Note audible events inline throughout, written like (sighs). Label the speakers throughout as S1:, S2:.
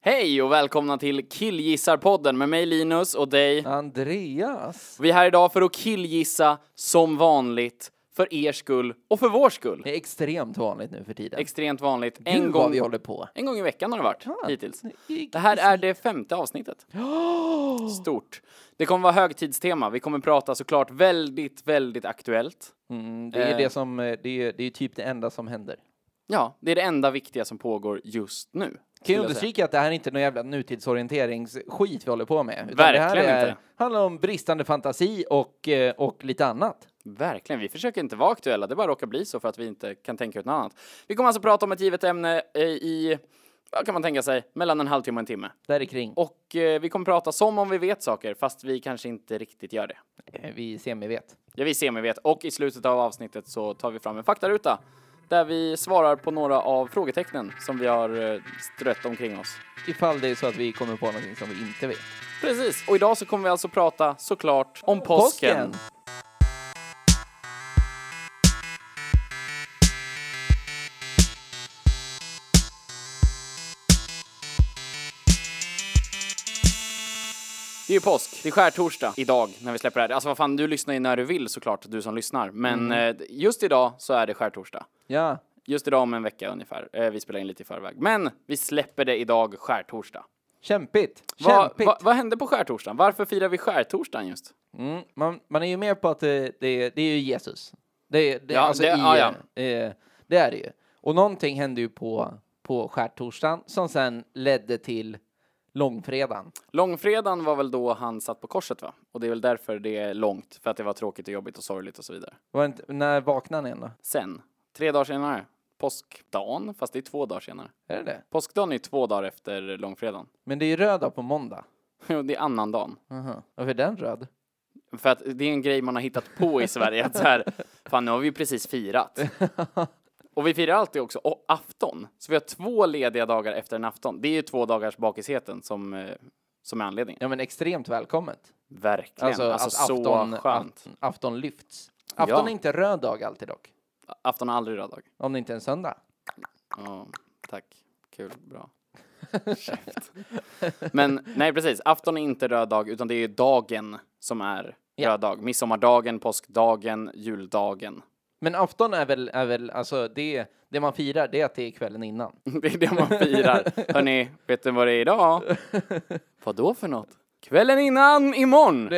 S1: Hej och välkomna till Killgissarpodden med mig Linus och dig.
S2: Andreas?
S1: Vi är här idag för att killgissa som vanligt för er skull och för vår skull.
S2: Det är extremt vanligt nu för tiden.
S1: Extremt vanligt.
S2: Gud,
S1: En
S2: vad
S1: gång,
S2: vi håller på.
S1: en gång i veckan har det varit hittills.
S2: i-
S1: Det här är det femte avsnittet. Stort. Det kommer vara högtidstema. Vi kommer prata såklart väldigt, väldigt aktuellt.
S2: Mm, det är
S1: Eh.
S2: det som, eh, det är, det är typ det enda som händer.
S1: Ja, det är det enda viktiga som pågår just nu.
S2: Kan
S1: skulle
S2: ju
S1: jag säga.
S2: understryka att det här är inte någon jävla nutidsorienteringsskit vi håller på med. Utan det
S1: Verkligen
S2: här är,
S1: inte.
S2: handlar om bristande fantasi och, eh, och lite annat.
S1: Verkligen, vi försöker inte vara aktuella, det bara råkar bli så för att vi inte kan tänka ut något annat. Vi kommer alltså prata om ett givet ämne eh, i, vad kan man tänka sig, mellan en halvtimme och en timme.
S2: Där är kring.
S1: Och eh, vi kommer prata som om vi vet saker, fast vi kanske inte riktigt gör det.
S2: Eh, vi semivet.
S1: Ja, vi ser om vi vet. Och i slutet av avsnittet så tar vi fram en faktaruta där vi svarar på några av frågetecknen som vi har eh, strött omkring oss.
S2: Ifall det är så att vi kommer på någonting som vi inte vet.
S1: Precis, och idag så kommer vi alltså prata såklart om påsken.
S2: Påsken.
S1: Det är ju påsk, det är skärtorsdag idag när vi släpper det här. Alltså vad fan, du lyssnar ju när du vill såklart, du som lyssnar. Men eh, just idag så är det skärtorsdag.
S2: Ja,
S1: Just idag om en vecka ungefär. Eh, vi spelar in lite i förväg. Men vi släpper det idag skärtorsdag.
S2: kämpigt.
S1: Va,
S2: Kämpigt.
S1: va, vad hände på skärtorsdagen? Varför firar vi skärtorsdagen just?
S2: Mm, man, man är ju med på att det, det, det är ju Jesus. Det, det,
S1: Ja,
S2: alltså
S1: det-
S2: i,
S1: ja,
S2: Eh, det är det ju. Och någonting hände ju på, på skärtorsdagen som sen ledde till långfredagen.
S1: Långfredagen var väl då han satt på korset va? Och det är väl därför det är långt, för att det var tråkigt och jobbigt och sorgligt och så vidare.
S2: Var det inte, när vaknade ni ändå?
S1: Sen, tre dagar senare, påskdagen, fast det är två dagar senare.
S2: Är det det?
S1: Påskdagen är två dagar efter långfredagen. (laughs)
S2: Men det är ju röd dag på måndag.
S1: Jo, det är annandagen.
S2: Aha. Varför är den röd?
S1: För att det är en grej man har hittat på i Sverige, att så här, fan nu har vi ju precis
S2: (laughs)
S1: firat. Och vi firar alltid också och afton, så vi har två lediga dagar efter en afton. Det är ju två dagars bakisheten som, eh, som är anledningen.
S2: Ja men extremt välkommet.
S1: Verkligen,
S2: Alltså,
S1: alltså,
S2: att
S1: så
S2: afton,
S1: skönt.
S2: Afton, afton lyfts. Afton
S1: Ja.
S2: är inte röd dag alltid dock.
S1: Afton är aldrig röd dag.
S2: Om det inte är en söndag.
S1: Ja, tack. Kul,
S2: (laughs)
S1: bra. Käft. Men nej, precis. Afton är inte röd dag, utan det är dagen som är
S2: Ja.
S1: röd dag. Midsommardagen, påskdagen, juldagen.
S2: Men afton är väl, är väl alltså det, det man firar det är att det är kvällen innan.
S1: Det är det man firar. Hörni, vet ni vad det är idag? Vad då för något? Kvällen innan imorgon!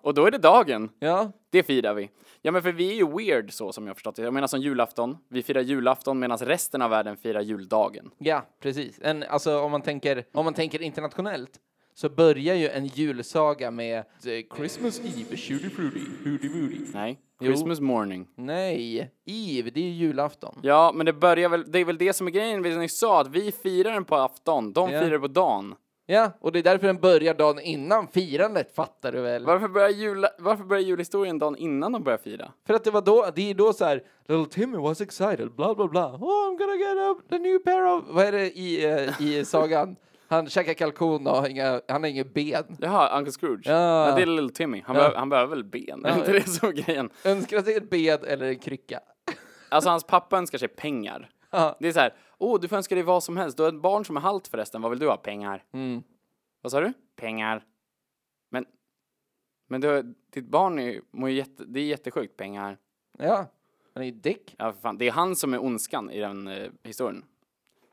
S1: Och då är det dagen.
S2: Ja,
S1: Det firar vi. Ja men för vi är ju weird så som jag förstått det. Jag menar som julafton. Vi firar julafton medan resten av världen firar juldagen.
S2: Ja, precis. En, alltså, om, man tänker, om man tänker internationellt så börjar ju en julsaga med eh, Christmas Eve, shooty fruity, hooty booty.
S1: Nej. Christmas morning.
S2: Nej, Eve, det är ju julafton.
S1: Ja, men det börjar väl, det är väl det som är grejen vi nyss sa, att vi firar den på afton, de
S2: Ja.
S1: firar på dagen.
S2: Ja, och det är därför den börjar dagen innan firandet, fattar du väl?
S1: Varför börjar, jul, varför börjar julhistorien dagen innan de börjar fira?
S2: För att det var då, det är då så här, Little Timmy was excited, bla bla bla. Oh, I'm gonna get a, the new pair of... Vad är det i, eh, i sagan? (laughs) Han käkar kalkon och har inga, han har inget ben.
S1: Jaha, Uncle Scrooge?
S2: Ja.
S1: det är Little Timmy. Han, behöver, han behöver väl ben? Är inte det som är grejen?
S2: Önskar sig ett ben eller en krycka.
S1: Alltså, hans pappa önskar sig pengar.
S2: (laughs) Ja.
S1: Det är så här, åh, du får önska dig vad som helst. Du har ett barn som är halt förresten, vad vill du ha? Pengar.
S2: Mm.
S1: Vad sa du? Pengar. Men, men du, har- ditt barn är, ju- mår ju jätte, det är jättesjukt. Pengar.
S2: Ja, han är ju dick.
S1: Ja, för fan. Det är han som är ondskan i den eh, historien.
S2: I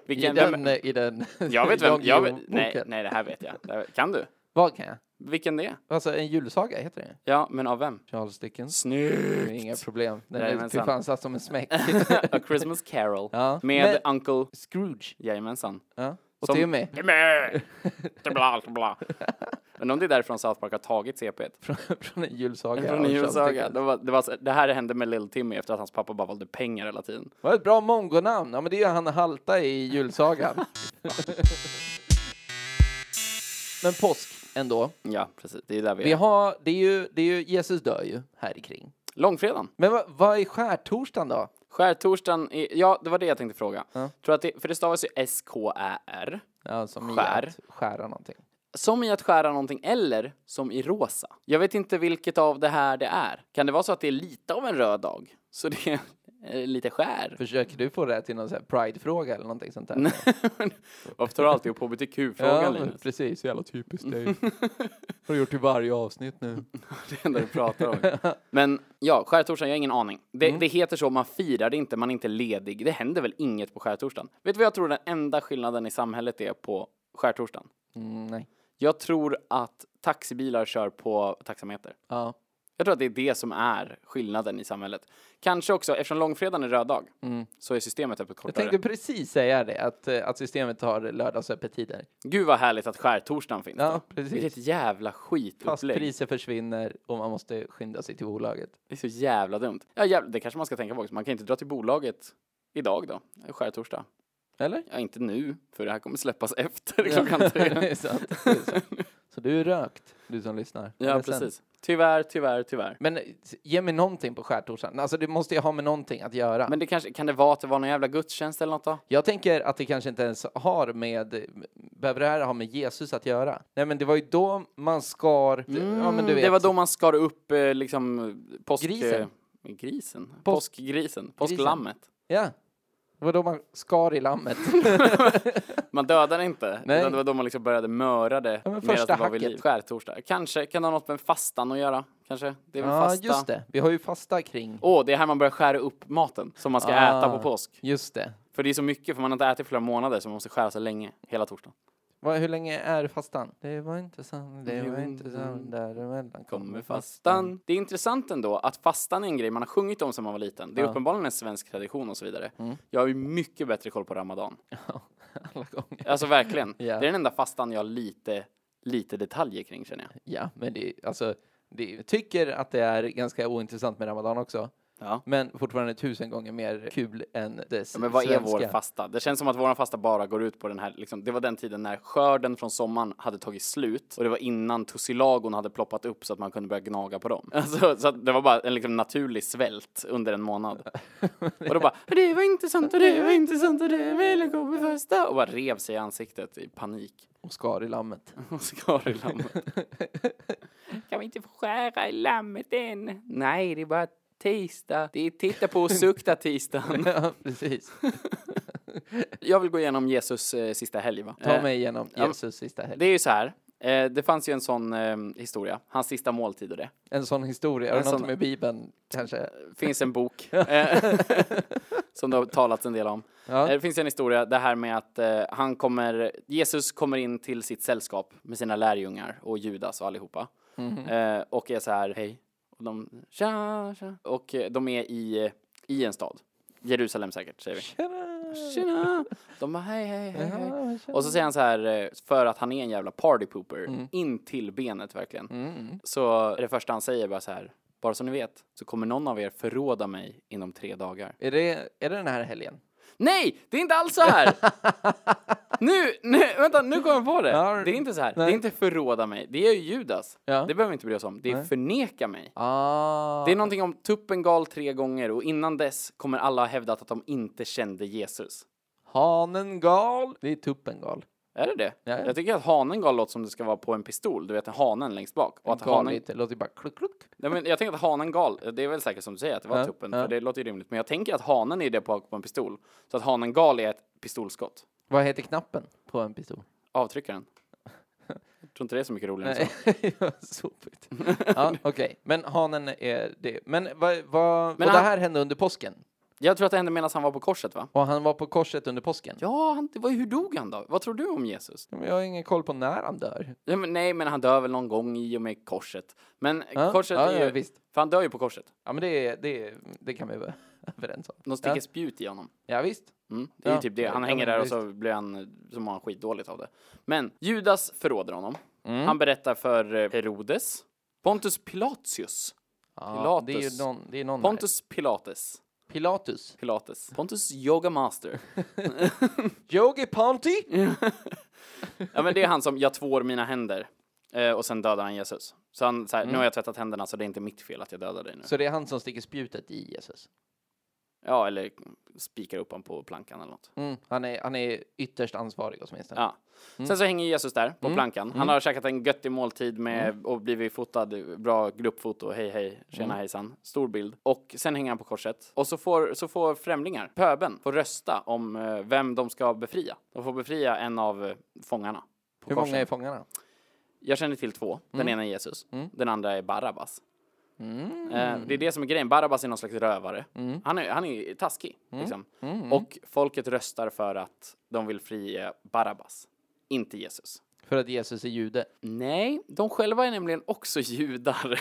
S1: Vilken, vem-
S2: den, i den...
S1: (laughs) Jag vet vem,
S2: (laughs) Jan
S1: jag vet,
S2: Guillou-boken.
S1: nej, nej det här vet jag. Det här, kan du?
S2: Vad kan jag?
S1: Vilken det är?
S2: Alltså en julsaga heter det.
S1: Ja, men av vem?
S2: Charles Dickens. Det är
S1: Snyggt!
S2: Inga problem. Den är fy
S1: Jajamensan.
S2: fan satt som en
S1: (laughs)
S2: smäck. (laughs)
S1: A Christmas Carol.
S2: Ja.
S1: Med Uncle...
S2: Scrooge.
S1: Jajamensan.
S2: Ja. Och
S1: Som-
S2: Timmy.
S1: Timmy! Bla, bla. Undrar om det är därifrån South Park har tagit CP't.
S2: Från, (laughs) från en julsaga. av
S1: Från en
S2: Charles
S1: julsaga.
S2: Dickens.
S1: Det, var, det, var, så- det här hände med Lill Timmy efter att hans pappa bara valde pengar hela tiden.
S2: Vad ett bra mongonamn. Ja men det är ju han Halta i
S1: (laughs)
S2: julsagan. men påsk ändå.
S1: Ja, precis. Det är där vi är.
S2: Vi har, det är ju, det är ju, Jesus dör ju här i kring.
S1: Långfredagen.
S2: Men vad, vad är skärtorsdagen då?
S1: Skärtorsdagen är... Ja, det var det jag tänkte fråga. Tror att det, för det stavas ju S-K-Ä-R.
S2: Ja, som i
S1: Skär.
S2: att Skära någonting.
S1: Som i att skära någonting eller som i rosa. Jag vet inte vilket av det här det är. Kan det vara så att det är lite av en röd dag? Så det är eh, lite (laughs) skär.
S2: Försöker du få det här till någon så här pride-fråga eller någonting sånt där?
S1: Nej, Varför tar du alltid upp hbtq-frågan
S2: ja, men
S1: Linus?
S2: precis. Jävla
S1: (laughs)
S2: typiskt dig. Har du gjort i varje avsnitt nu.
S1: Det enda du pratar
S2: (laughs)
S1: om. Men ja, skärtorsdagen, jag har ingen aning. Det,
S2: Mm.
S1: det heter så, man firar det inte, man är inte ledig. Det händer väl inget på skärtorsdagen. Vet du vad jag tror den enda skillnaden i samhället är på skärtorsdagen?
S2: Mm, nej.
S1: Jag tror att taxibilar kör på taxameter.
S2: Ja.
S1: Jag tror att det är det som är skillnaden i samhället. Kanske också, eftersom långfredagen är röd dag, så är systemet öppet
S2: Jag
S1: kortare.
S2: mm. tänkte precis säga det, att, eh, att systemet har lördagsöppettider.
S1: Gud vad härligt att skärtorsdagen finns
S2: Ja,
S1: då.
S2: precis.
S1: Vilket jävla
S2: Fast
S1: skitupplägg.
S2: priser försvinner och man måste skynda sig till bolaget.
S1: Det är så jävla dumt. Ja, jävla, det kanske man ska tänka på också. Man kan inte dra till bolaget idag då, skärtorsdag.
S2: Eller?
S1: Ja, inte nu, för det här kommer släppas (laughs) efter klockan
S2: (laughs) det
S1: tre.
S2: är sant. Det är sant. Så du är rökt, du som lyssnar.
S1: ja,
S2: Eller sen.
S1: precis. Tyvärr, tyvärr, tyvärr.
S2: Men eh, ge mig någonting på skärtorsdagen. Alltså, det måste ju ha med någonting att göra.
S1: Men det kanske, kan det vara att det var någon jävla gudstjänst eller något då?
S2: Jag tänker att det kanske inte ens har med, behöver det här ha med Jesus att göra? Nej men det var ju då man skar, ja men du vet.
S1: Mm, Det var då man skar upp eh, liksom påsk...
S2: Grisen.
S1: eh, Grisen? Påskgrisen? Påsklammet?
S2: Ja. Det var då man skar i lammet.
S1: Man dödade
S2: (laughs)
S1: inte,
S2: Nej.
S1: utan det var då man liksom började möra det
S2: Ja, men
S1: medan
S2: första
S1: det var vid
S2: hacket.
S1: liv. Skärtorsdag. Kanske, kan det ha något med fastan att göra? Kanske? Det är väl
S2: ja
S1: fasta?
S2: just det, vi har ju fasta kring.
S1: Åh, det är här man börjar skära upp maten som man ska
S2: Ah.
S1: äta på påsk.
S2: Just det.
S1: För det är så mycket, för man har inte ätit i flera månader, så man måste skära så länge, hela torsdagen.
S2: Vad- hur länge är fastan? Det var inte sant, det
S1: Jo,
S2: var inte sant,
S1: mm.
S2: däremellan
S1: Kommer fastan. Det är intressant ändå att fastan är en grej man har sjungit om sedan man var liten. Det är
S2: Ja.
S1: uppenbarligen en svensk tradition och så vidare. Jag har ju mycket bättre koll på ramadan.
S2: (laughs) Alla gånger.
S1: Alltså (laughs) verkligen.
S2: Ja.
S1: Det är den enda fastan jag har lite, lite detaljer kring känner jag.
S2: Ja, men det, alltså, det, jag tycker att det är ganska ointressant med ramadan också.
S1: Ja.
S2: Men fortfarande tusen gånger mer kul än det
S1: Men vad är vår
S2: svenska.
S1: fasta? Det känns som att vår fasta bara går ut på den här, liksom, det var den tiden när skörden från sommaren hade tagit slut och det var innan tussilagon hade ploppat upp så att man kunde börja gnaga på dem. (laughs) Alltså, så att det var bara en liksom, naturlig svält under en månad. (laughs) Och då bara, det var inte sant och det var inte sant och det ville komma första. Och bara rev sig i ansiktet i panik. (laughs)
S2: Och skar i lammet.
S1: Och skar i lammet. (laughs) kan vi inte få skära i lammet än? Nej, det är bara tisdag. Det är titta på och sukta tisdagen.
S2: (laughs) ja, precis.
S1: Jag vill gå igenom Jesus eh, sista helg va?
S2: Ta
S1: Eh,
S2: mig igenom
S1: ja,
S2: Jesus sista helg.
S1: Det är ju så här. Eh, det fanns ju en sån eh, historia, hans sista måltid och det.
S2: En sån historia, har
S1: En
S2: det något
S1: sån-
S2: med Bibeln kanske?
S1: finns en
S2: (laughs)
S1: bok eh, (laughs) som det har talats en del om.
S2: Ja.
S1: Eh, Det finns en historia, det här med att eh, han kommer, Jesus kommer in till sitt sällskap med sina lärjungar och Judas och allihopa.
S2: Mhm.
S1: Eh, och är så här, hej. Och de, tja, tja. Och eh, de är i, i en stad. Jerusalem säkert, säger vi.
S2: Tjena!
S1: Tjena! De bara hej, hej, hej, hej.
S2: Ja, tjena.
S1: Och så säger han så här, eh, för att han är en jävla party pooper,
S2: Mm.
S1: in till benet verkligen. Mm. Så är det första han säger bara så här, bara så ni vet, så kommer någon av er förråda mig inom tre dagar.
S2: Är det, är det den här helgen?
S1: Nej, det är inte alls så
S2: (laughs)
S1: här! nu, nu, vänta, nu kommer jag på det.
S2: Ja,
S1: Det är inte så här, det
S2: nej.
S1: är inte förråda mig, det är ju Judas.
S2: Ja.
S1: Det behöver vi inte bry oss om, det är förneka mig.
S2: Ah,
S1: Det är någonting om tuppen gal tre gånger och innan dess kommer alla ha hävdat att de inte kände Jesus.
S2: hanen gal. Det är tuppen gal.
S1: Är det det?
S2: Ja, ja.
S1: Jag tycker att hanen gal låter som det ska vara på en pistol, du vet hanen längst bak. Och att
S2: gal
S1: hanen...
S2: hanen... Det låter ju bara kluck, kluck.
S1: Nej, men jag tänker att hanen gal, det är väl säkert som du säger att det var
S2: Ja,
S1: tuppen,
S2: ja.
S1: för det låter ju rimligt. Men jag tänker att hanen är det bak på en pistol. Så att hanen gal är ett pistolskott.
S2: Vad heter knappen på en pistol?
S1: Avtryckaren. Jag tror inte det är så mycket roligare än
S2: Nej,
S1: så.
S2: Alltså. (laughs) sopigt. ja, Okej, men hanen är det. Men vad... vad
S1: Men
S2: och det
S1: han-
S2: här hände under påsken?
S1: Jag tror att det hände medan han var på korset va?
S2: Och han var på korset under påsken?
S1: Ja, han, det var ju, hur dog han då? Vad tror du om Jesus?
S2: Men Jag har ingen koll på när han dör.
S1: Ja, men, nej, men han dör väl någon gång i och med korset. Men
S2: Ja,
S1: korset
S2: ja,
S1: är ju...
S2: ja, visst.
S1: För han dör ju på korset.
S2: Ja, men det, är- det, är- det kan vi vara (laughs) överens om.
S1: De sticker
S2: Ja.
S1: spjut i honom.
S2: Ja, visst.
S1: Mm, det är
S2: Ja,
S1: ju typ det. Han
S2: ja,
S1: hänger
S2: men
S1: där och
S2: visst.
S1: så blir han, eh, så mår han skitdåligt av det. Men Judas förråder honom.
S2: Mm.
S1: Han berättar för eh, Herodes. Pontus Pilatius.
S2: Ja, det är
S1: Pilatus.
S2: ju någon, det är någon här.
S1: Pontus Pilates.
S2: Pilatus.
S1: Pilates. Pontus Yoga Master.
S2: Yogi Ponti!
S1: Mm. Ja men det är han som, jag tvår mina händer. Eh, och sen dödar han Jesus. Så han
S2: Mm.
S1: så här, nu har jag tvättat händerna så det är inte mitt fel att jag dödar dig nu.
S2: Så det är han som sticker spjutet i Jesus.
S1: Ja, eller spikar upp honom på plankan eller något.
S2: Mm, han, är, han är ytterst ansvarig åtminstone.
S1: Ja.
S2: Mm.
S1: Sen så hänger Jesus där på plankan. Han har käkat en göttig måltid med
S2: Mm.
S1: och blivit fotad, bra gruppfoto, hej hej, tjena hejsan, stor bild. Och sen hänger han på korset. Och så får, så får främlingar, pöben, får rösta om eh, vem de ska befria. De får befria en av eh, fångarna. På
S2: Hur
S1: korset.
S2: många är fångarna?
S1: Jag känner till två. Den
S2: Mm.
S1: ena är Jesus, den andra är Barabbas. Eh, Det är det som är grejen. Barabbas är någon slags rövare.
S2: Mm.
S1: Han är, han är taskig. Liksom. Och folket röstar för att de vill frige Barabbas, inte Jesus.
S2: För att Jesus är jude.
S1: Nej, de själva är nämligen också (laughs) judar.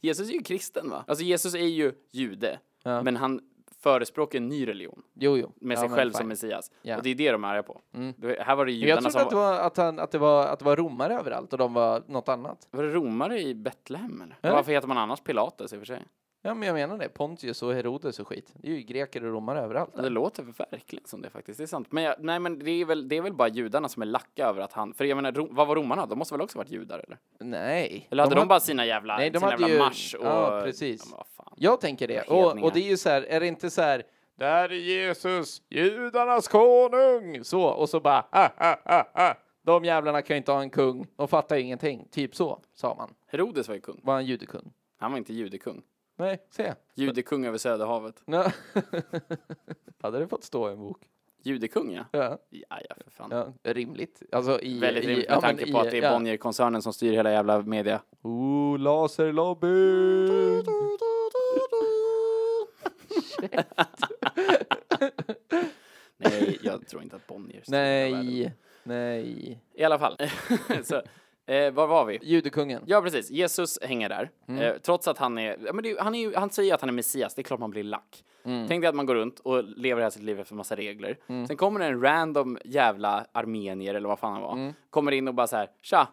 S1: Jesus är ju kristen va? Alltså Jesus är ju jude,
S2: Ja.
S1: men han förespråkar en ny religion
S2: Jo, jo.
S1: med
S2: Ja,
S1: sig
S2: men
S1: själv
S2: fine.
S1: som Messias.
S2: Ja.
S1: Och det är det de är arga på. Det- Här var det
S2: Men Jag
S1: judarna
S2: trodde
S1: som
S2: att det,
S1: var...
S2: var, att, han, att, det var, att det var romare överallt och de var något annat.
S1: Var det romare i Betlehem eller?
S2: Eller?
S1: Varför heter man annars Pilatus i och för sig?
S2: Ja, men jag menar det. Pontius och Herodes och skit. Det är ju greker och romare överallt.
S1: Ja, Det låter verkligen som det faktiskt, det är sant. Men, jag, nej, men det, är väl, det är väl bara judarna som är lacka över att han, för jag menar, ro, vad var romarna? De måste väl också varit judar eller?
S2: Nej.
S1: Eller hade de,
S2: hade-
S1: bara sina jävla,
S2: Nej, de
S1: sina
S2: hade
S1: jävla
S2: ju-
S1: marsch och...
S2: ja, precis.
S1: men vad fan.
S2: Jag tänker det. Och,
S1: Hedningar.
S2: och det är ju så här, är det inte så här... Där är Jesus, judarnas konung! Så, och så bara... Ah, ah, ah, ah. De jävlarna kan ju inte ha en kung. De fattar ju ingenting. Typ så, sa man.
S1: Herodes var ju kung.
S2: Var han judekung?
S1: Han var inte judekung.
S2: Nej, se. (laughs)
S1: Judekung över Söderhavet.
S2: Nå. Hade det fått stå i en bok?
S1: Judekung ja.
S2: Ja,
S1: Ja, ja för fan.
S2: ja rimligt. Alltså i...
S1: Väldigt
S2: i,
S1: rimligt
S2: ja,
S1: med
S2: men
S1: tanke på
S2: i-
S1: att det är
S2: ja.
S1: Bonnierkoncernen som styr hela jävla media.
S2: Oh, laserlobby!
S1: Nej, jag tror inte att Bonnier styr hela världen.
S2: Nej, nej.
S1: I alla fall. (laughs) så, eh, var var vi?
S2: Judekungen.
S1: Ja, precis. Jesus hänger där.
S2: Mm.
S1: Eh, trots att han är... Ja, men det, är- han, är ju, han säger att han är Messias, det är klart man blir lack.
S2: Mm.
S1: Tänk dig att man går runt och lever hela sitt liv efter massa regler. Sen kommer det en random jävla armenier, eller vad fan han var,
S2: Mm.
S1: kommer in och bara så här, tja,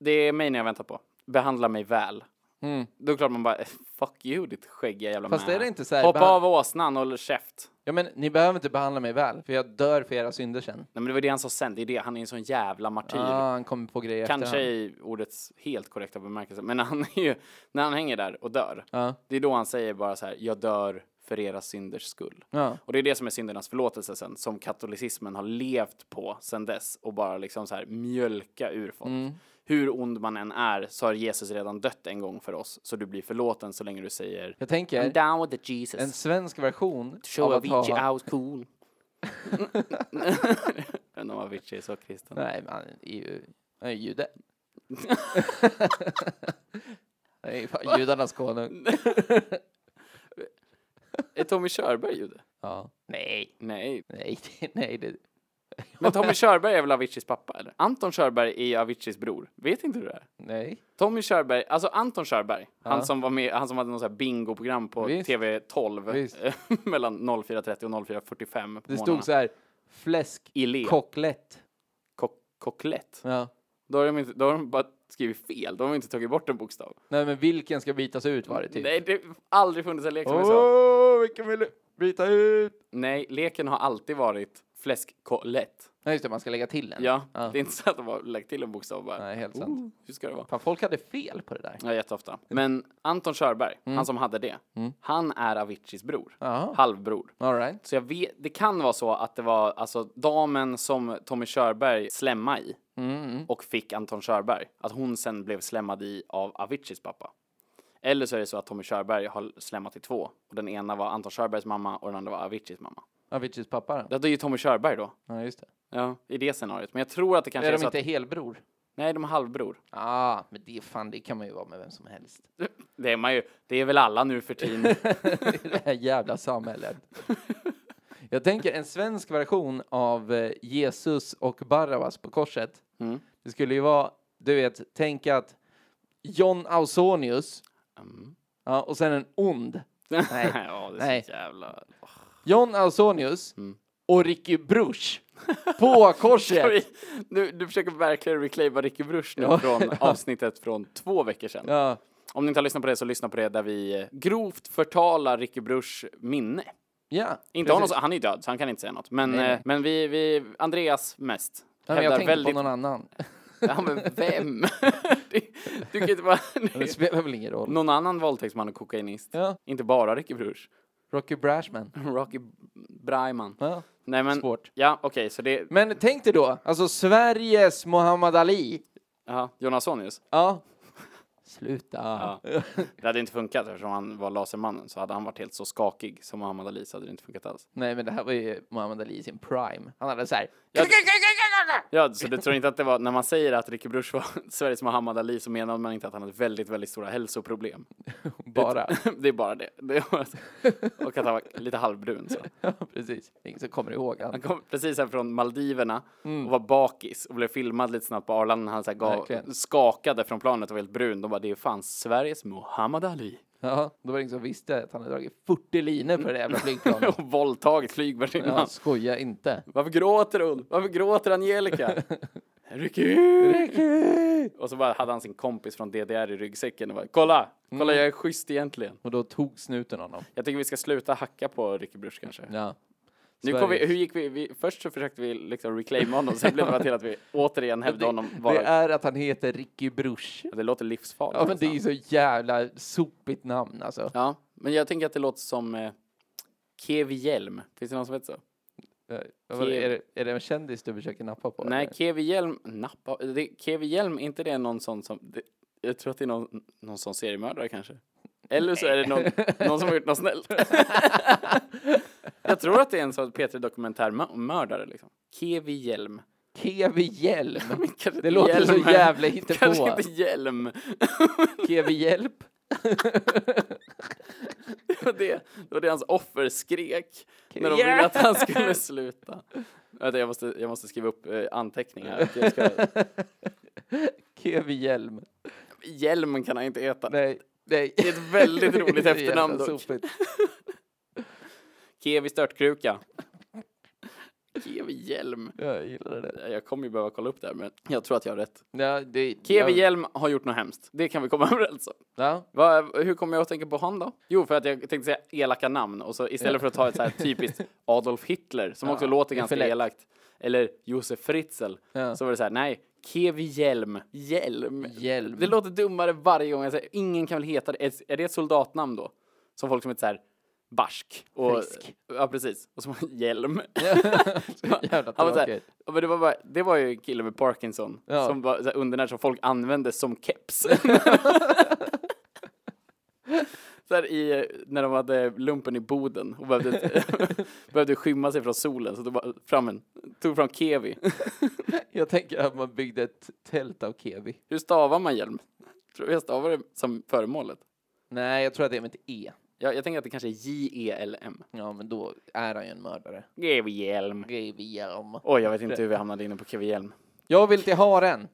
S1: det är mig ni har väntat på. Behandla mig väl.
S2: Mm.
S1: Då är det klart man bara, eh, fuck you ditt skäggiga jävla
S2: Fast
S1: män."
S2: är det inte så här,
S1: Hoppa
S2: behand-
S1: av åsnan och håll käft.
S2: Ja, men ni behöver inte behandla mig väl, för jag dör för era synder sen.
S1: Nej men det var det han sa sen, det är det, han är en sån jävla martyr.
S2: Ah, han kommer på grejer
S1: Kanske
S2: efterhand.
S1: i ordets helt korrekta bemärkelse, men han är ju, när han hänger där och dör,
S2: Ja.
S1: det är då han säger bara så här, jag dör för era synders skull.
S2: Ja.
S1: Och det är det som är syndernas förlåtelse sen, som katolicismen har levt på sen dess och bara liksom så här mjölka ur folk. Hur ond man än är så har Jesus redan dött en gång för oss, så du blir förlåten så länge du säger
S2: Jag
S1: I'm
S2: tänker,
S1: down with the Jesus,
S2: en svensk version
S1: show
S2: av att
S1: Avicii
S2: ha...
S1: I was cool. (laughs) Jag undrar om Avicii är så kristen.
S2: Nej, men han är ju han är
S1: (laughs)
S2: ju jude. Han är ju fan judarnas konung.
S1: Är Tommy Körberg jude?
S2: Ja. Nej,
S1: Nej,
S2: nej, det- nej. Det...
S1: Men Tommy Körberg är väl Aviciis pappa eller? Anton Körberg är ju Aviciis bror. Vet inte du det?
S2: Nej.
S1: Tommy Körberg, alltså Anton Körberg, han som var med, han som hade något så här bingoprogram på
S2: Visst. Visst.
S1: TV12 (laughs) mellan 04.30 och 04.45 på
S2: Det
S1: morgnarna.
S2: stod så här, fläsk,
S1: Ilé.
S2: koklett.
S1: Kock, kocklett.
S2: Ja.
S1: Då har, de inte, då har de bara skrivit fel, de har inte tagit bort en bokstav.
S2: Nej, men vilken ska bytas ut var det typ? Oh.
S1: Nej, det har aldrig funnits en lek som är så.
S2: Åh, vilken vill du byta ut?
S1: Nej, leken har alltid varit fläskkotlett.
S2: Nej, just det, man ska lägga till en.
S1: Ja, det är inte så att de har lagt till en bokstav bara.
S2: Nej, helt sant.
S1: oh, hur ska det vara?
S2: Fan, folk hade fel på det där.
S1: Ja, jätteofta. Men Anton Körberg, han som hade det, han är Aviciis bror.
S2: Mm. Jaha.
S1: Halvbror.
S2: All right.
S1: Så jag vet, det kan vara så att det var alltså damen som Tommy Körberg slämma i
S2: Mm,
S1: och fick Anton Körberg, att hon sen blev slämmad i av Aviciis pappa. Eller så är det så att Tommy Körberg har slämmat i två och den ena var Anton Körbergs mamma och den andra var Aviciis mamma.
S2: Aviciis pappa då?
S1: Ja, Det är ju Tommy Körberg då,
S2: Ja, just det.
S1: ja, i det scenariot. Men jag tror att det kanske
S2: Är
S1: är,
S2: de
S1: så
S2: inte
S1: att...
S2: helbror?
S1: Nej, de är halvbror.
S2: Ah, men det är fan, det kan man ju vara med vem som helst. (laughs)
S1: Det är man ju, det är väl alla nu för tiden.
S2: I det här jävla (laughs) samhället. Jag tänker en svensk version av eh, Jesus och Barabbas på korset. Det skulle ju vara, du vet, tänk att John Ausonius, ja, och sen en ond. Mm. Nej.
S1: (laughs) ja, det är
S2: Nej.
S1: så jävla...
S2: (laughs) John Ausonius och Ricky Bruch (laughs) på korset.
S1: Sorry, nu, du försöker verkligen reclaima Ricky Bruch nu
S2: (laughs)
S1: från avsnittet från två veckor sedan.
S2: Ja,
S1: Om ni inte har lyssnat på det så lyssna på det där vi eh, grovt förtalar Ricky Bruchs minne.
S2: ja.
S1: Inte honom,
S2: precis.
S1: han är ju död så han kan inte säga något. Men,
S2: Nej, nej.
S1: eh, men vi, vi, Andreas mest.
S2: Ja, men jag tänkte på någon annan.
S1: (laughs) Ja, men vem? (laughs) du, du kan inte bara... (laughs)
S2: (laughs) Det spelar väl ingen roll.
S1: någon annan våldtäktsman och kokainist.
S2: Ja.
S1: Inte bara Ricky Bruch. (laughs)
S2: Rocky Brashman.
S1: Rocky Braiman.
S2: Ja,
S1: Nej men,
S2: svårt.
S1: ja okej, så det,
S2: Men tänk dig då, alltså Sveriges Muhammad Ali.
S1: ja, Jonasonius.
S2: Ja. Sluta.
S1: Ja. Det hade inte funkat eftersom han var lasermannen, så hade han varit helt så skakig som Muhammad Ali så hade det inte funkat alls.
S2: Nej, men det här var ju Muhammad Ali i sin prime. Han hade
S1: (laughs)
S2: så här.
S1: Ja, Ja, så du tror inte att det var, när man säger att Ricky Bruch var (laughs) Sveriges Muhammad Ali så menar man inte att han hade väldigt, väldigt stora hälsoproblem.
S2: Bara.
S1: (laughs)
S2: (laughs)
S1: Det är bara det. det var, och att han var lite halvbrun så.
S2: Ja, precis. Ingen som kommer ihåg han.
S1: Han kom precis här från Maldiverna och var bakis och blev filmad lite snabbt på Arlanda när han så här gav,
S2: Verkligen.
S1: skakade från planet och var helt brun. De bara, det är fan Sveriges Muhammad Ali.
S2: Ja, då var det ingen som visste att han hade dragit 40 linor på det där
S1: (laughs)
S2: jävla flygplanet.
S1: och våldtagit flygvärdinnan.
S2: Ja, skoja inte.
S1: Varför gråter hon? Varför gråter (laughs) Angelica? Ricky! Och så bara hade han sin kompis från DDR i ryggsäcken och bara, kolla! Kolla
S2: Mm.
S1: jag är schysst egentligen.
S2: Och då tog snuten honom.
S1: Jag tycker vi ska sluta hacka på Ricky Bruch kanske.
S2: Ja.
S1: Nu kom vi, hur gick vi, vi? Först så försökte vi liksom reclaima honom, sen blev det bara till
S2: (laughs)
S1: att vi återigen hävdade honom vara...
S2: Det
S1: Det,
S2: är att han heter Ricky Bruch.
S1: det låter livsfarligt.
S2: Ja, men det är ju
S1: nästan.
S2: så jävla sopigt namn alltså.
S1: ja, men jag tänker att det låter som eh, Kevi Hjelm. Finns det någon som heter så?
S2: Eh, vad Är, det, är det en kändis du försöker nappa på?
S1: Nej,
S2: eller?
S1: Kevi Hjelm, nappa, det, Kevi Hjelm, är inte det någon sån som, det, jag tror att det är någon, någon sån seriemördare kanske. Eller så är det någon, någon som har gjort något
S2: (laughs)
S1: snällt. jag tror att det är en sån P3 Dokumentärmördare liksom. Kevi Hjelm.
S2: Kevi Hjelm.
S1: Men kanske
S2: Det
S1: (laughs) inte
S2: låter så
S1: Hjelm.
S2: jävla hittepå.
S1: (laughs) Kanske inte Hjelm.
S2: Kevi Hjälp.
S1: Det var det, det var det hans offer skrek när de
S2: Kevi
S1: ville att han skulle sluta. Vänta, Jag måste, jag måste skriva upp eh, anteckningar. Jag ska,
S2: Kevi Hjelm.
S1: Hjelm kan han inte äta.
S2: Nej. Nej.
S1: Det är ett väldigt roligt
S2: (laughs) Det är så jävla
S1: efternamn dock.
S2: sopigt.
S1: Kevi (laughs) störtkruka. Kevi Hjelm.
S2: Jag gillar det.
S1: Jag kommer ju behöva kolla upp det här, men jag tror att jag har rätt.
S2: Ja, det
S1: Kevi
S2: jag,
S1: Hjelm har gjort något hemskt. Det kan vi komma (laughs) överens om.
S2: ja,
S1: Va, hur kommer jag att tänka på han då? Jo, för att jag tänkte säga elaka namn och så istället för att ta ett (laughs) så här typiskt Adolf Hitler som också låter
S2: det är
S1: ganska
S2: för lätt.
S1: elakt. Eller Josef Fritzl.
S2: Ja.
S1: Så var det så här, nej, Kevi Hjelm. Hjelm.
S2: Hjelm.
S1: Det låter dummare varje gång jag säger, ingen kan väl heta det. Är- Är det ett soldatnamn då? Som folk som heter så här Barsk. Och,
S2: Frisk.
S1: Ja, precis. Och (laughs) så Hjelm.
S2: jävla
S1: Han var så här,
S2: tråkigt.
S1: ja, men det, var bara, det var ju en kille med Parkinson
S2: Ja.
S1: som var så här undernärd som folk använde som
S2: (laughs)
S1: keps. så här i, eh, när de hade lumpen i Boden och
S2: (laughs)
S1: behövde, behövde skymma sig från solen så tog, bara fram en, tog fram kevi.
S2: Jag tänker att man byggde ett tält av kevi.
S1: Hur stavar man hjälm? Tror jag stavar det som föremålet.
S2: Nej, jag tror att det är med ett e.
S1: Jag, jag tänker att det kanske är E J-E-L-M.
S2: Ja, men då är han ju en mördare.
S1: Kevi Hjelm.
S2: Kevi Hjelm.
S1: Oj, jag vet inte hur vi hamnade inne på Kevi Hjelm.
S2: Jag vill till haren.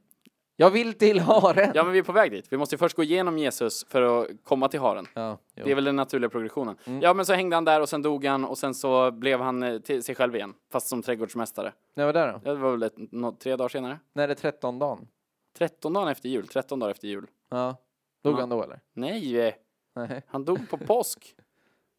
S2: Jag vill till haren.
S1: Ja, men vi är på väg dit. Vi måste ju först gå igenom Jesus för att komma till haren.
S2: Ja, jo. Mm.
S1: Det är väl den naturliga progressionen. Ja, men så hängde han där och sen dog han och sen så blev han eh, till sig själv igen, fast som trädgårdsmästare.
S2: När var det då?
S1: Ja, Det var väl ett, nå- tre dagar senare?
S2: När är det 13 dagen?
S1: 13 dagar efter jul, 13 dagar efter jul.
S2: Ja. Dog
S1: Ja.
S2: han då eller?
S1: Nej, eh,
S2: Nej.
S1: han dog
S2: (laughs)
S1: på påsk.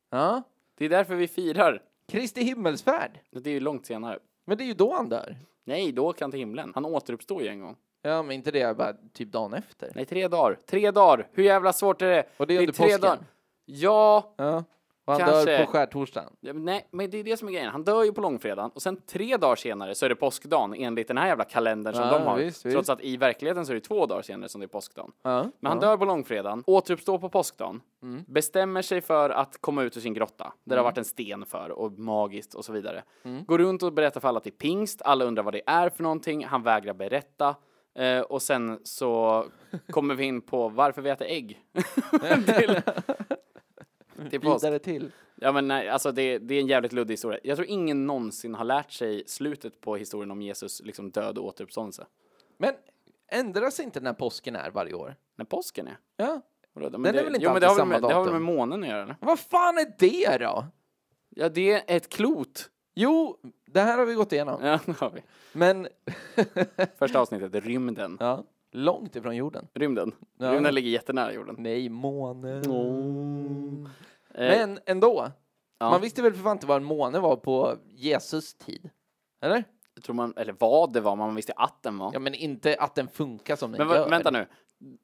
S2: Ja.
S1: Det är därför vi firar.
S2: Kristi himmelsfärd.
S1: Det är ju långt senare.
S2: Men det är ju då han dör.
S1: Nej, då åker han till himlen. Han återuppstår ju en gång.
S2: Ja, men inte det, jag bara typ dagen efter.
S1: Nej, tre dagar. Tre dagar! Hur jävla svårt är det?
S2: Och det är under påsken.
S1: Ja,
S2: Ja. Och han
S1: Kanske.
S2: dör på skärtorsdagen.
S1: Ja, men Nej, men det är det som är grejen. Han dör ju på långfredagen och sen tre dagar senare så är det påskdagen enligt den här jävla kalendern som
S2: Ja,
S1: de har.
S2: visst,
S1: Trots
S2: visst.
S1: att i verkligheten så är det två dagar senare som det är påskdagen.
S2: Ja. Mm.
S1: Men han dör på långfredagen, återuppstår på påskdagen, bestämmer sig för att komma ut ur sin grotta, där det har varit en sten för och magiskt och så vidare.
S2: Mm.
S1: Går runt och berättar för alla till pingst, alla undrar vad det är för någonting, han vägrar berätta. Eh, och sen så kommer vi in på varför vi äter
S2: (laughs)
S1: ägg. (laughs) till, till påsk.
S2: Vidare till.
S1: Ja men nej, alltså det, det är en jävligt luddig historia. Jag tror ingen någonsin har lärt sig slutet på historien om Jesus liksom död och återuppståndelse.
S2: Men ändras inte när påsken är varje år?
S1: När påsken är.
S2: Ja.
S1: Vadå? Men
S2: Den
S1: det,
S2: är väl inte
S1: jo, men det har
S2: alltid
S1: väl med,
S2: samma
S1: Det har väl med
S2: datum?
S1: månen att göra eller?
S2: Vad fan är det då?
S1: Ja det är ett klot! (laughs)
S2: Jo, det här har vi gått igenom.
S1: Ja det har vi.
S2: Men,
S1: Första avsnittet, rymden.
S2: ja, långt ifrån jorden.
S1: Rymden.
S2: Ja.
S1: Rymden ligger jättenära jorden.
S2: Nej, månen.
S1: Eh,
S2: Men ändå.
S1: Ja.
S2: Man visste väl för fan inte vad en måne var på Jesus tid? Eller?
S1: tror man, eller vad det var, man visste att den var.
S2: Ja, men inte att den funkar som den
S1: men va,
S2: gör.
S1: vänta nu.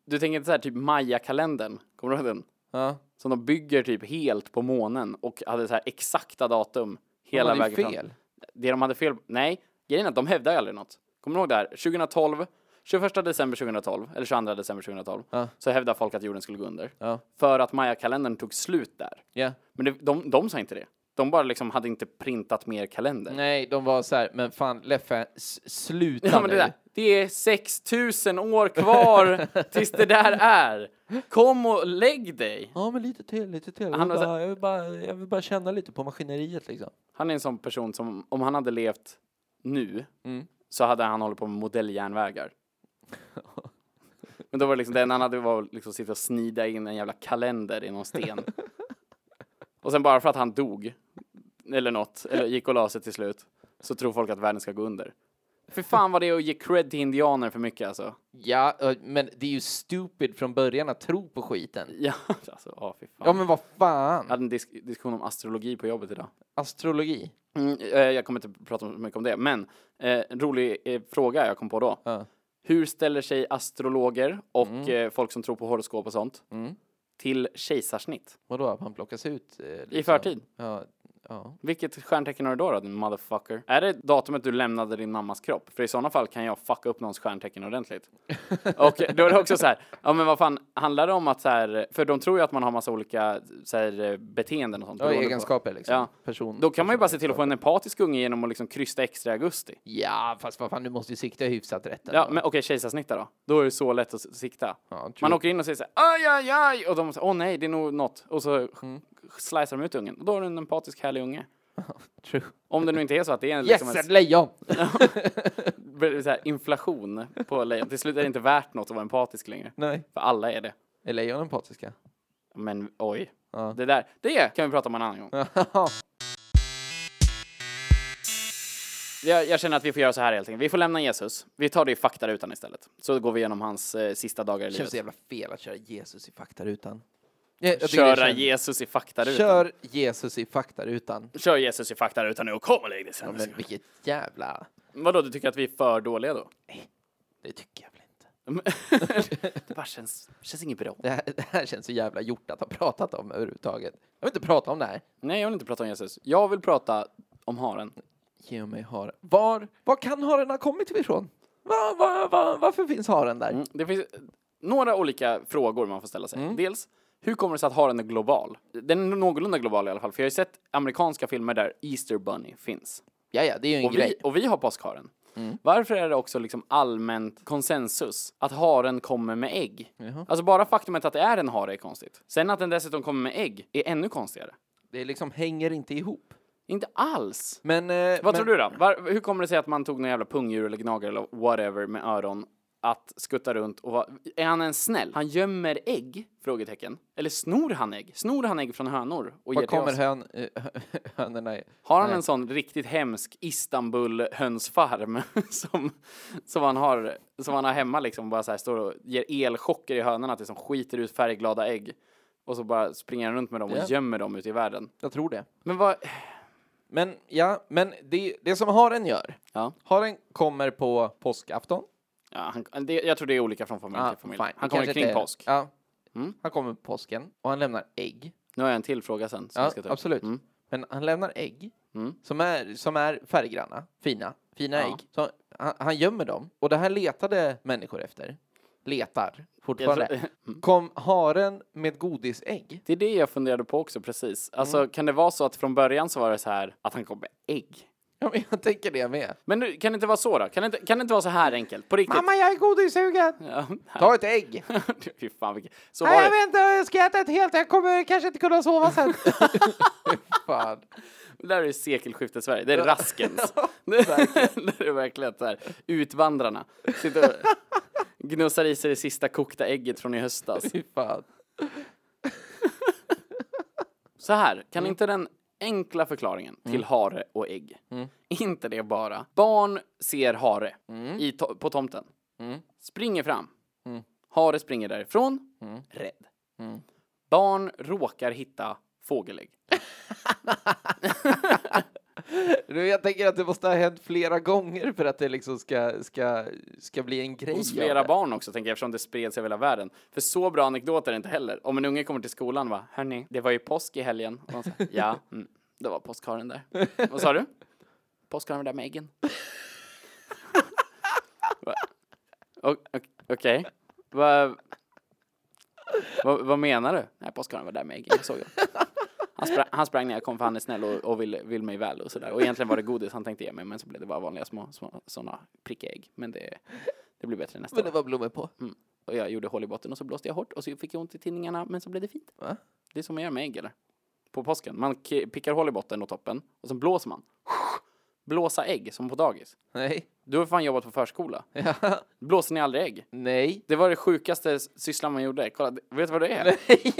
S1: Du tänker inte så här typ Maya-kalendern? Kommer du ihåg den?
S2: Ja.
S1: Som de bygger typ helt på månen och hade så här exakta datum hela
S2: Hela
S1: vägen
S2: vägen
S1: fram.
S2: fel.
S1: Det de hade fel Nej, grejen är att de hävdar ju aldrig något. Kommer du ihåg det här? 2012, 21 december 2012, eller 22 december 2012,
S2: Ja.
S1: så hävdade folk att jorden skulle gå under.
S2: Ja.
S1: För att Maya-kalendern tog slut där.
S2: Ja.
S1: Men det, de, de sa inte det. De bara liksom hade inte printat mer kalender.
S2: Nej, de var så här, men fan Leffe, s- sluta
S1: Ja, men det,
S2: nu.
S1: där, det är 6000 år
S2: (laughs)
S1: kvar tills det där är. Kom och lägg dig.
S2: Ja, men lite till, lite till. Jag
S1: Han
S2: vill,
S1: har så-
S2: bara, jag, vill bara, jag vill bara känna lite på maskineriet liksom.
S1: Han är en sån person som om han hade levt nu
S2: Mm.
S1: så hade han hållit på med modelljärnvägar. Men då var det liksom det enda han hade var att liksom sitta och snida in en jävla kalender i någon sten. Och sen bara för att han dog eller något, eller gick och la sig till slut, så tror folk att världen ska gå under. För fan vad det är att ge cred till indianer för mycket alltså.
S2: Ja, ö, men det är ju stupid från början att tro på skiten.
S1: Ja, alltså, ja fy fan.
S2: Ja, men vad
S1: Jag
S2: fan.
S1: hade en disk diskussion om astrologi på jobbet idag.
S2: Astrologi.
S1: Mm, eh, jag kommer inte prata så mycket om det, men eh, en rolig eh, fråga jag kom på då.
S2: Ja.
S1: Hur ställer sig astrologer och eh, folk som tror på horoskop och sånt
S2: Mm.
S1: till kejsarsnitt
S2: Vadå, att man plockas ut? eh, Liksom.
S1: i förtid?
S2: Ja, ja.
S1: Vilket stjärntecken har du då, då, din motherfucker? Är det datumet du lämnade din mammas kropp? För i sådana fall kan jag fucka upp någons stjärntecken
S2: (laughs)
S1: ordentligt. Och då är det också så här, ja men vad fan, handlar det om att så här, för de tror ju att man har massa olika så här, eh, beteenden och sånt.
S2: ja
S1: beroende på-
S2: egenskaper liksom.
S1: Ja.
S2: Person,
S1: Då kan man ju bara se till att få
S2: personegenskaper.
S1: en empatisk unge genom att liksom krysta extra i augusti.
S2: Ja, fast vad fan, du måste ju sikta hyfsat rätt.
S1: Ja,
S2: ändå.
S1: men okej, kejsarsnitt då. Då är det så lätt att s- sikta.
S2: Ja,
S1: Man
S2: true.
S1: åker in och säger så här, aj, aj, aj, och de säger, åh nej, det är nog något. Och så mm. slicear de ut ungen. Och då har du en empatisk, härlig unge.
S2: true.
S1: Om det nu inte är så att det är en,
S2: Yes,
S1: liksom
S2: ett
S1: en
S2: lejon!
S1: s- så här, inflation på lejon. Till slut är det inte värt något att vara empatisk längre.
S2: Nej.
S1: För alla är det.
S2: Är lejon empatiska?
S1: Men oj,
S2: Ja.
S1: det där, det kan vi prata om en annan
S2: (laughs)
S1: gång. Jag, jag känner att vi får göra så här helt enkelt. Vi får lämna Jesus. Vi tar det i faktarutan istället. Så går vi igenom hans eh, sista dagar i
S2: känns
S1: livet.
S2: så jävla fel att köra Jesus i faktarutan. Jag- jag tycker det
S1: Köra
S2: känns-
S1: Jesus i faktarutan.
S2: Kör Jesus i faktarutan.
S1: Kör Jesus i faktarutan nu och kom och lägg dig sen.
S2: Men vilket jävla...
S1: Vadå, du tycker att vi är för dåliga då?
S2: Det tycker jag väl inte.
S1: det bara känns, känns inget bra.
S2: Det här, det här känns så jävla gjort att ha pratat om överhuvudtaget. Jag vill inte prata om det här.
S1: Nej, jag vill inte prata om Jesus. Jag vill prata om haren.
S2: Ge mig haren. Var, var kan haren ha kommit ifrån? Va, va, va, varför finns haren där?
S1: Mm. Det finns eh, några olika frågor man får ställa sig. Dels, hur kommer det sig att haren är global? Den är någorlunda global i alla fall, för jag har ju sett amerikanska filmer där Easter Bunny finns.
S2: Ja, ja, det är ju en
S1: Och vi, Mm.
S2: grej.
S1: och vi har påskharen. Varför är det också liksom allmänt konsensus att haren kommer med ägg? Alltså bara faktumet att det är en hare är konstigt. Sen att den dessutom kommer med ägg är ännu konstigare.
S2: Det liksom hänger inte ihop.
S1: Inte alls.
S2: Men... Eh,
S1: Vad
S2: men,
S1: tror du då? Var, hur kommer det sig att man tog någon jävla pungdjur eller gnagare eller whatever med öron att skutta runt och vara... Är han en snäll? Han gömmer ägg? Frågetecken. Eller snor han ägg? Snor han ägg från hönor och ger
S2: Var
S1: till
S2: kommer
S1: oss?
S2: hön, (laughs) eh, hönorna? i-
S1: Har han en sån riktigt hemsk Istanbul-hönsfarm (laughs) som, som, han har, som han har hemma liksom? Bara så här står och ger elchocker i hönorna tills de skiter ut färgglada ägg. Och så bara springer han runt med dem och
S2: Ja.
S1: gömmer dem ute i världen.
S2: Jag tror det.
S1: Men vad...
S2: Men ja, men det, det som haren gör.
S1: Ja.
S2: Haren kommer på påskafton. Ah,
S1: ja han, det, jag tror det är olika från familj till familj.
S2: fine. Det
S1: Han kommer
S2: kanske
S1: kring
S2: inte är-
S1: påsk.
S2: Ja.
S1: Mm.
S2: Han kommer på påsken och han lämnar ägg.
S1: Nu har jag en till fråga sen. Som
S2: Ja,
S1: jag ska ta upp.
S2: absolut.
S1: Mm.
S2: Men han lämnar ägg
S1: Mm.
S2: som, är, som är färggranna, fina, fina
S1: Ja.
S2: ägg. Så han, han gömmer dem. Och det här letade människor efter. Letar fortfarande.
S1: Jag tror- (laughs) Mm.
S2: Kom haren med godisägg?
S1: Det är det jag funderade på också precis. Alltså
S2: Mm.
S1: kan det vara så att från början så var det så här att han kom med ägg?
S2: Ja, men jag tänker det med.
S1: Men nu, kan det inte vara så då? Kan det inte, kan det inte vara så här enkelt? På riktigt?
S2: Mamma, jag är godissugen!
S1: Ja, (laughs) här.
S2: (laughs) Ta ett ägg!
S1: Fy fan vilket... Så
S2: Nej,
S1: var
S2: jag
S1: det.
S2: vet inte, jag ska äta ett helt, jag kommer kanske inte kunna sova sen. (laughs) Fan.
S1: Det där är sekelskiftet Sverige. Det är
S2: (laughs)
S1: Raskens. (laughs) det det är verkligen så här. Utvandrarna. Sitter
S2: (laughs)
S1: och gnussar i sig det sista kokta ägget från i höstas.
S2: (laughs) Fy fan.
S1: Så här, kan
S2: Mm.
S1: inte den enkla förklaringen till hare och ägg,
S2: Mm,
S1: (laughs) inte det bara. Barn ser hare i to- på tomten,
S2: mm,
S1: springer fram, hare springer därifrån, rädd.
S2: mm.
S1: Barn råkar hitta fågelägg.
S2: Nu, Jag tänker att det måste ha hänt flera gånger för att det liksom ska, ska, ska bli en grej.
S1: Hos
S2: av
S1: flera
S2: det.
S1: barn också, tänker jag, eftersom det spreds över hela världen. För så bra anekdoter är det inte heller. Om en unge kommer till skolan och bara, hörni, det var ju påsk i helgen. Och man säger, ja, mm, det var påskharen där. Vad sa du? Påskharen där med äggen. Va? O- o- Okej. Va- va- Vad menar du? Nej, påskharen var där med äggen, jag såg det. Han sprang, han sprang när jag kom för han är snäll och, och vill, vill mig väl och sådär. Och egentligen var det godis han tänkte ge mig men så blev det bara vanliga små, små sådana prickiga ägg. Men det, det blir bättre nästa
S2: Men
S1: år.
S2: det var blommor på.
S1: Och jag gjorde hål i botten och så blåste jag hårt och så fick jag ont i tinningarna men så blev det fint.
S2: Va?
S1: Det är som man gör med ägg eller? På påsken. Man k- pickar hål i botten och toppen och sen blåser man. Blåsa ägg som på dagis.
S2: Nej. (laughs)
S1: Du har fan jobbat på förskola.
S2: Ja.
S1: Blåser ni aldrig ägg?
S2: Nej. (laughs)
S1: Det var det sjukaste s- sysslan man gjorde. Kolla, d- vet du vad det är?
S2: Nej.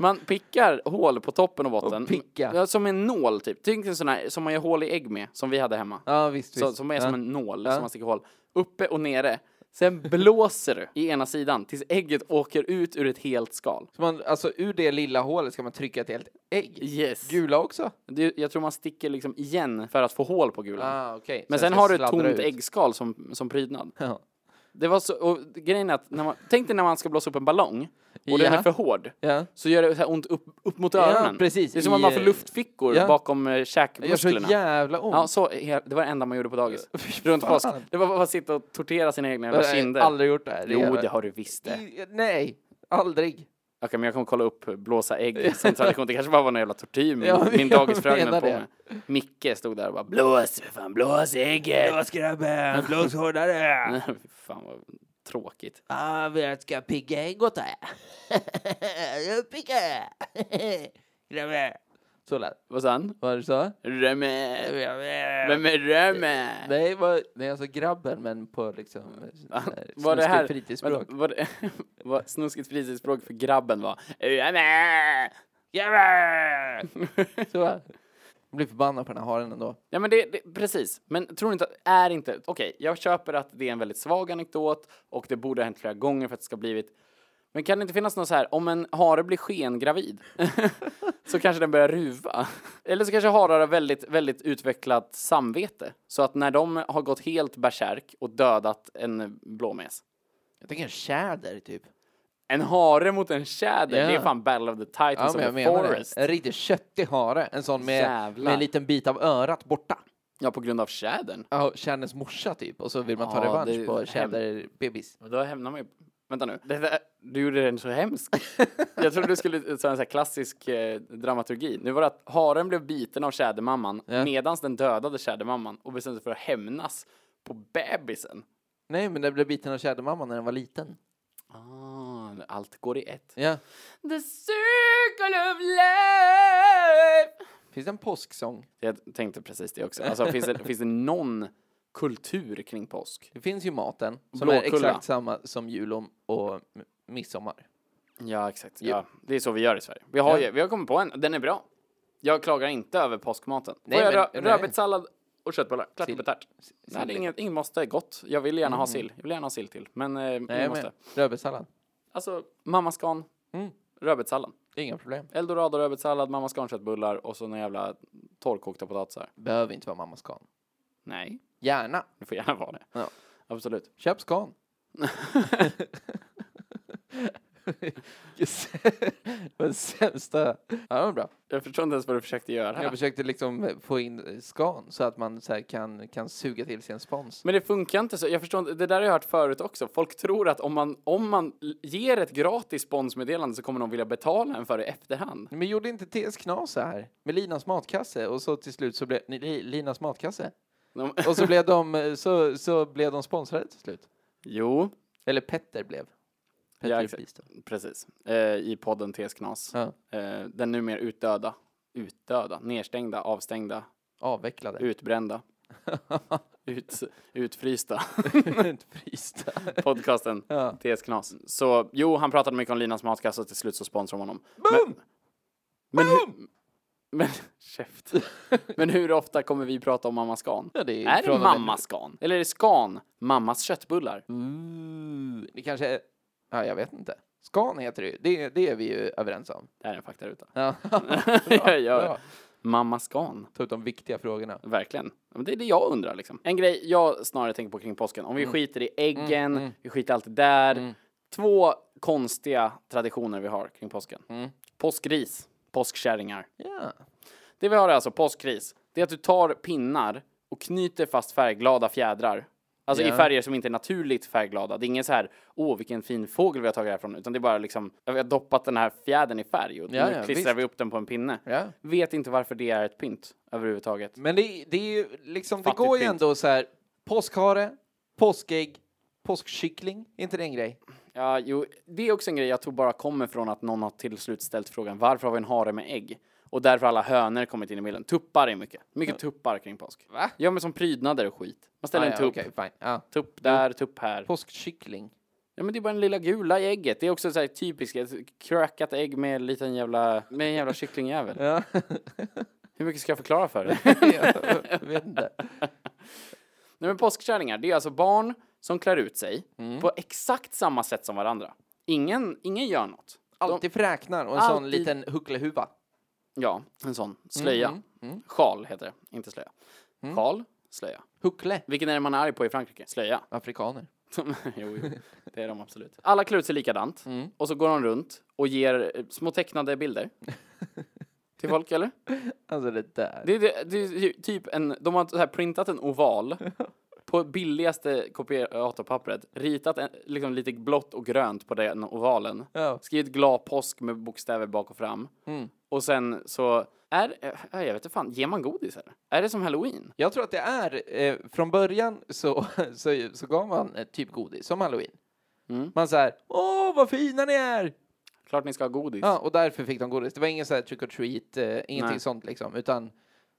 S1: Man pickar hål på toppen och botten.
S2: Och picka.
S1: Ja, som en nål typ. Tänk en sån här som man gör hål i ägg med, som vi hade hemma.
S2: Ja, visst,
S1: Så,
S2: visst.
S1: som är
S2: ja.
S1: som en nål som man sticker hål. Uppe och nere. Sen blåser du i ena sidan tills ägget åker ut ur ett helt skal.
S2: Så man, alltså ur det lilla hålet ska man trycka ett helt ägg.
S1: Yes.
S2: Gula också?
S1: Det, jag tror man sticker liksom igen för att få hål på gulan.
S2: Ah, okej.
S1: Men sen,
S2: ska
S1: har du ett
S2: sladdra
S1: tomt
S2: ut.
S1: äggskal som, som prydnad.
S2: Ja.
S1: Det var så, och grejen är att, när man, tänk dig när man ska blåsa upp en ballong och den
S2: Ja.
S1: är för hård.
S2: Ja.
S1: Så gör det så här ont upp, upp mot
S2: Ja,
S1: öronen.
S2: precis.
S1: Det är som att
S2: I,
S1: man får
S2: eh,
S1: luftfickor
S2: ja.
S1: bakom eh,
S2: Det gör så
S1: käkmusklerna.
S2: jävla ont.
S1: Ja, så, he- det var det enda man gjorde på
S2: (laughs)
S1: dagis. Runt
S2: fan.
S1: påsk. Det var bara att sitta och tortera sina egna
S2: jag
S1: jävla
S2: har
S1: kinder.
S2: aldrig gjort det här.
S1: Jo,
S2: är-
S1: det har du visst det. Okej,
S2: I- Nej, aldrig.
S1: men jag kommer kolla upp eh, blåsa ägg som tradition. Det kanske bara var någon jävla tortyr min,
S2: Ja,
S1: min
S2: jag
S1: dagisfröken höll
S2: menar
S1: på
S2: det.
S1: med. Micke stod där och bara blås, för fan, blås ägget.
S2: grabben, blås (laughs) hårdare!
S1: Nej, (laughs) fy fan vad tråkigt.
S2: Ah, vi ska pigga ägg åt dig. (laughs) Pigga! Grabben. Så lät
S1: Vad sa han?
S2: Vad du sa?
S1: Römme. Vem är römme?
S2: Nej, vad, nej, alltså grabben, men på liksom...
S1: Va?
S2: (laughs) sådär
S1: Var det här-
S2: snuskigt Fritidsspråk.
S1: Vänta, Vad det- (laughs) vad snuskigt fritidsspråk för grabben var. Römme.
S2: Så va? Jag blir förbannad på den här haren ändå.
S1: (laughs) Ja men det, det, precis. Men tror ni inte att, är inte, okej, jag köper att det är en väldigt svag anekdot och det borde ha hänt flera gånger för att det ska ha blivit, men kan det inte finnas något så här, om en hare blir skengravid (laughs) så kanske den börjar ruva. Eller så kanske harar har väldigt, väldigt utvecklat samvete. Så att när de har gått helt bärsärk och dödat en blåmes.
S2: Jag tänker en tjäder, typ.
S1: En hare mot en tjäder, det är
S2: Ja.
S1: fan battle of the
S2: Ja,
S1: titans
S2: men jag
S1: of the
S2: menar
S1: forest.
S2: det. En riktigt köttig hare. En sån med,
S1: Jävlar.
S2: med en liten bit av örat borta.
S1: Ja, på grund av tjädern.
S2: Ja, tjäderns morsa, typ. Och så vill man ta
S1: Ja,
S2: revansch
S1: det-
S2: på
S1: hem-
S2: tjäderbebis.
S1: Och då hämnar man ju... Vänta nu. Det där, du gjorde den så hemsk. (laughs) jag trodde du skulle ta en så här klassisk eh, dramaturgi. Nu var det att haren blev biten av tjädermamman
S2: Ja.
S1: medans den dödade tjädermamman och bestämde sig för att hämnas på bebisen.
S2: Nej, men den blev biten av tjädermamman när den var liten.
S1: Ah, allt går i ett.
S2: Ja.
S1: The circle of life!
S2: Finns det en påsksång?
S1: Jag tänkte precis det också. Alltså, finns, det, finns det någon kultur kring påsk?
S2: Det finns ju maten som är
S1: Blåkulla.
S2: exakt samma som jul och, och m- midsommar.
S1: Ja, exakt. Ja, det är så vi gör i Sverige. Vi har,
S2: Ja.
S1: ju, vi har kommit på en, den är bra. Jag klagar inte över påskmaten.
S2: Nej,
S1: Nej,
S2: men-
S1: rö-
S2: nej.
S1: rödbetssallad och köttbullar. Klart och
S2: Sill.
S1: betärt. Nej, det är inget, inget måste. Gott. Jag vill gärna ha sill. Jag vill gärna ha sill till. Men eh,
S2: Mm. Nej,
S1: inget
S2: men
S1: måste.
S2: rödbetssallad.
S1: Alltså, mammaskan,
S2: Mm.
S1: rödbetssallad.
S2: Inga problem.
S1: Eldorado rödbetssallad, mammaskan köttbullar och så några jävla torrkokta potatisar.
S2: Behöver inte vara mamma skan.
S1: Nej,
S2: Gärna.
S1: det får gärna vara det.
S2: Ja.
S1: Absolut. (laughs)
S2: Köp skan. (laughs) Yes. Det var Den sämsta. Ja, det var bra.
S1: Jag förstår inte ens vad du försökte göra.
S2: Jag försökte liksom få in skan så att man så här kan, kan suga till sig en spons.
S1: Men det funkar inte så. Jag förstår inte, det där har jag hört förut också. Folk tror att om man, om man l- ger ett gratis sponsmeddelande så kommer någon vilja betala en för det i efterhand.
S2: Men gjorde inte TS Knas så här med Linas matkasse och så till slut så blev ni- Li- Linas matkasse
S1: De, (laughs)
S2: och så blev de eh, så, så blev de sponsrade till slut.
S1: jo,
S2: Eller Petter blev.
S1: Ja,
S2: Petter
S1: exakt.
S2: Bistad.
S1: precis. Eh, I podden TS Knas.
S2: Ja.
S1: Eh, den numera utdöda, utdöda, nerstängda, avstängda,
S2: Avvecklade.
S1: utbrända, ut, utfrysta Mm.
S2: (laughs) Utfrysta.
S1: podcasten
S2: Ja.
S1: TS Knas. Så jo, han pratade mycket om Linas matkasse och till slut så sponsrar man honom.
S2: Boom!
S1: Men, hur, men, (laughs) käft. men hur ofta kommer vi prata om Mamma Scan?
S2: Ja, det
S1: Är det
S2: frågan
S1: mamma skan? Eller är det skan, mammas köttbullar?
S2: Ooh, Mm. Det kanske är... Ja, jag vet inte. Skan heter det ju. Det, det är vi ju överens om.
S1: (laughs) Det här är en faktaruta.
S2: Ja.
S1: jag gör.
S2: Bra.
S1: Mamma Scan.
S2: Ta ut de viktiga frågorna.
S1: Verkligen. Ja, men Det är det jag undrar liksom. En grej jag snarare tänker på kring påsken. Om vi
S2: Mm.
S1: skiter i äggen, vi skiter i allt det där. Två konstiga traditioner vi har kring påsken.
S2: Mm.
S1: Påskris, påskkärringar.
S2: Ja.
S1: Det vi har är alltså påskris. Det är att du tar pinnar och knyter fast färgglada fjädrar. Alltså
S2: Ja.
S1: i färger som inte är naturligt färgglada. Det är ingen så här, åh vilken fin fågel vi har tagit härifrån. Utan det är bara liksom, vi har doppat den här fjädern i färg och
S2: Ja,
S1: nu
S2: ja,
S1: klistrar
S2: visst.
S1: vi upp den på en pinne.
S2: Ja.
S1: Vet inte varför det är ett pynt överhuvudtaget.
S2: Men det, det är ju liksom, det
S1: Fattigt
S2: går ju
S1: fint.
S2: ändå så här, påskhare, påskägg, påskkyckling, är inte det en grej?
S1: Ja, jo, det är också en grej jag tror bara kommer från att någon har till slut ställt frågan varför har vi en hare med ägg? Och därför har alla hönor kommit in i bilden. Tuppar är mycket. Mycket tuppar kring påsk.
S2: Va? Ah,
S1: Ja, men som prydnader och skit. Man ställer en
S2: ja,
S1: tupp.
S2: okej, fine. Ja.
S1: Tupp där, tupp här.
S2: Påskkyckling.
S1: Ja, men det är bara den lilla gula i ägget. Det är också så här typiskt. Ett krökat ägg med en liten jävla, med en jävla kycklingjävel.
S2: Ja.
S1: (laughs) Hur mycket ska jag förklara för
S2: (laughs)
S1: dig?
S2: jag vet inte.
S1: Nej, men påskkärringar, det är alltså barn som klär ut sig
S2: Mm.
S1: på exakt samma sätt som varandra. Ingen, ingen gör något.
S2: Alltid fräknar och en sån
S1: Alltid.
S2: liten hucklehuva. Mm,
S1: Ja, en sån. Slöja. Sjal heter det, inte slöja. Sjal, slöja.
S2: Huckle.
S1: Vilken är det man är arg på i Frankrike? Slöja. (laughs)
S2: Afrikaner.
S1: jo, jo, det är de absolut. Alla klär ut sig likadant
S2: Mm.
S1: och så går de runt och ger eh, små tecknade bilder. Till folk eller?
S2: Alltså det där.
S1: Det är, det, det är ju typ en, de har så här printat en
S2: (laughs)
S1: oval på billigaste kopiatorpappret, ritat en, liksom lite blått och grönt på den ovalen,
S2: Ja.
S1: skrivit glad påsk med bokstäver bak och fram
S2: Mm.
S1: och sen så är, eh, jag vet inte fan, ger man godis eller? Är det som halloween?
S2: Jag tror att det är, eh, från början så, (laughs) så, så gav man eh, typ godis, som halloween.
S1: Mm.
S2: Man så här, åh vad fina ni är!
S1: Klart ni ska ha godis.
S2: Ja, och därför fick de godis. Det var ingen så här trick or treat, eh, ingenting
S1: Nej.
S2: sånt liksom, utan...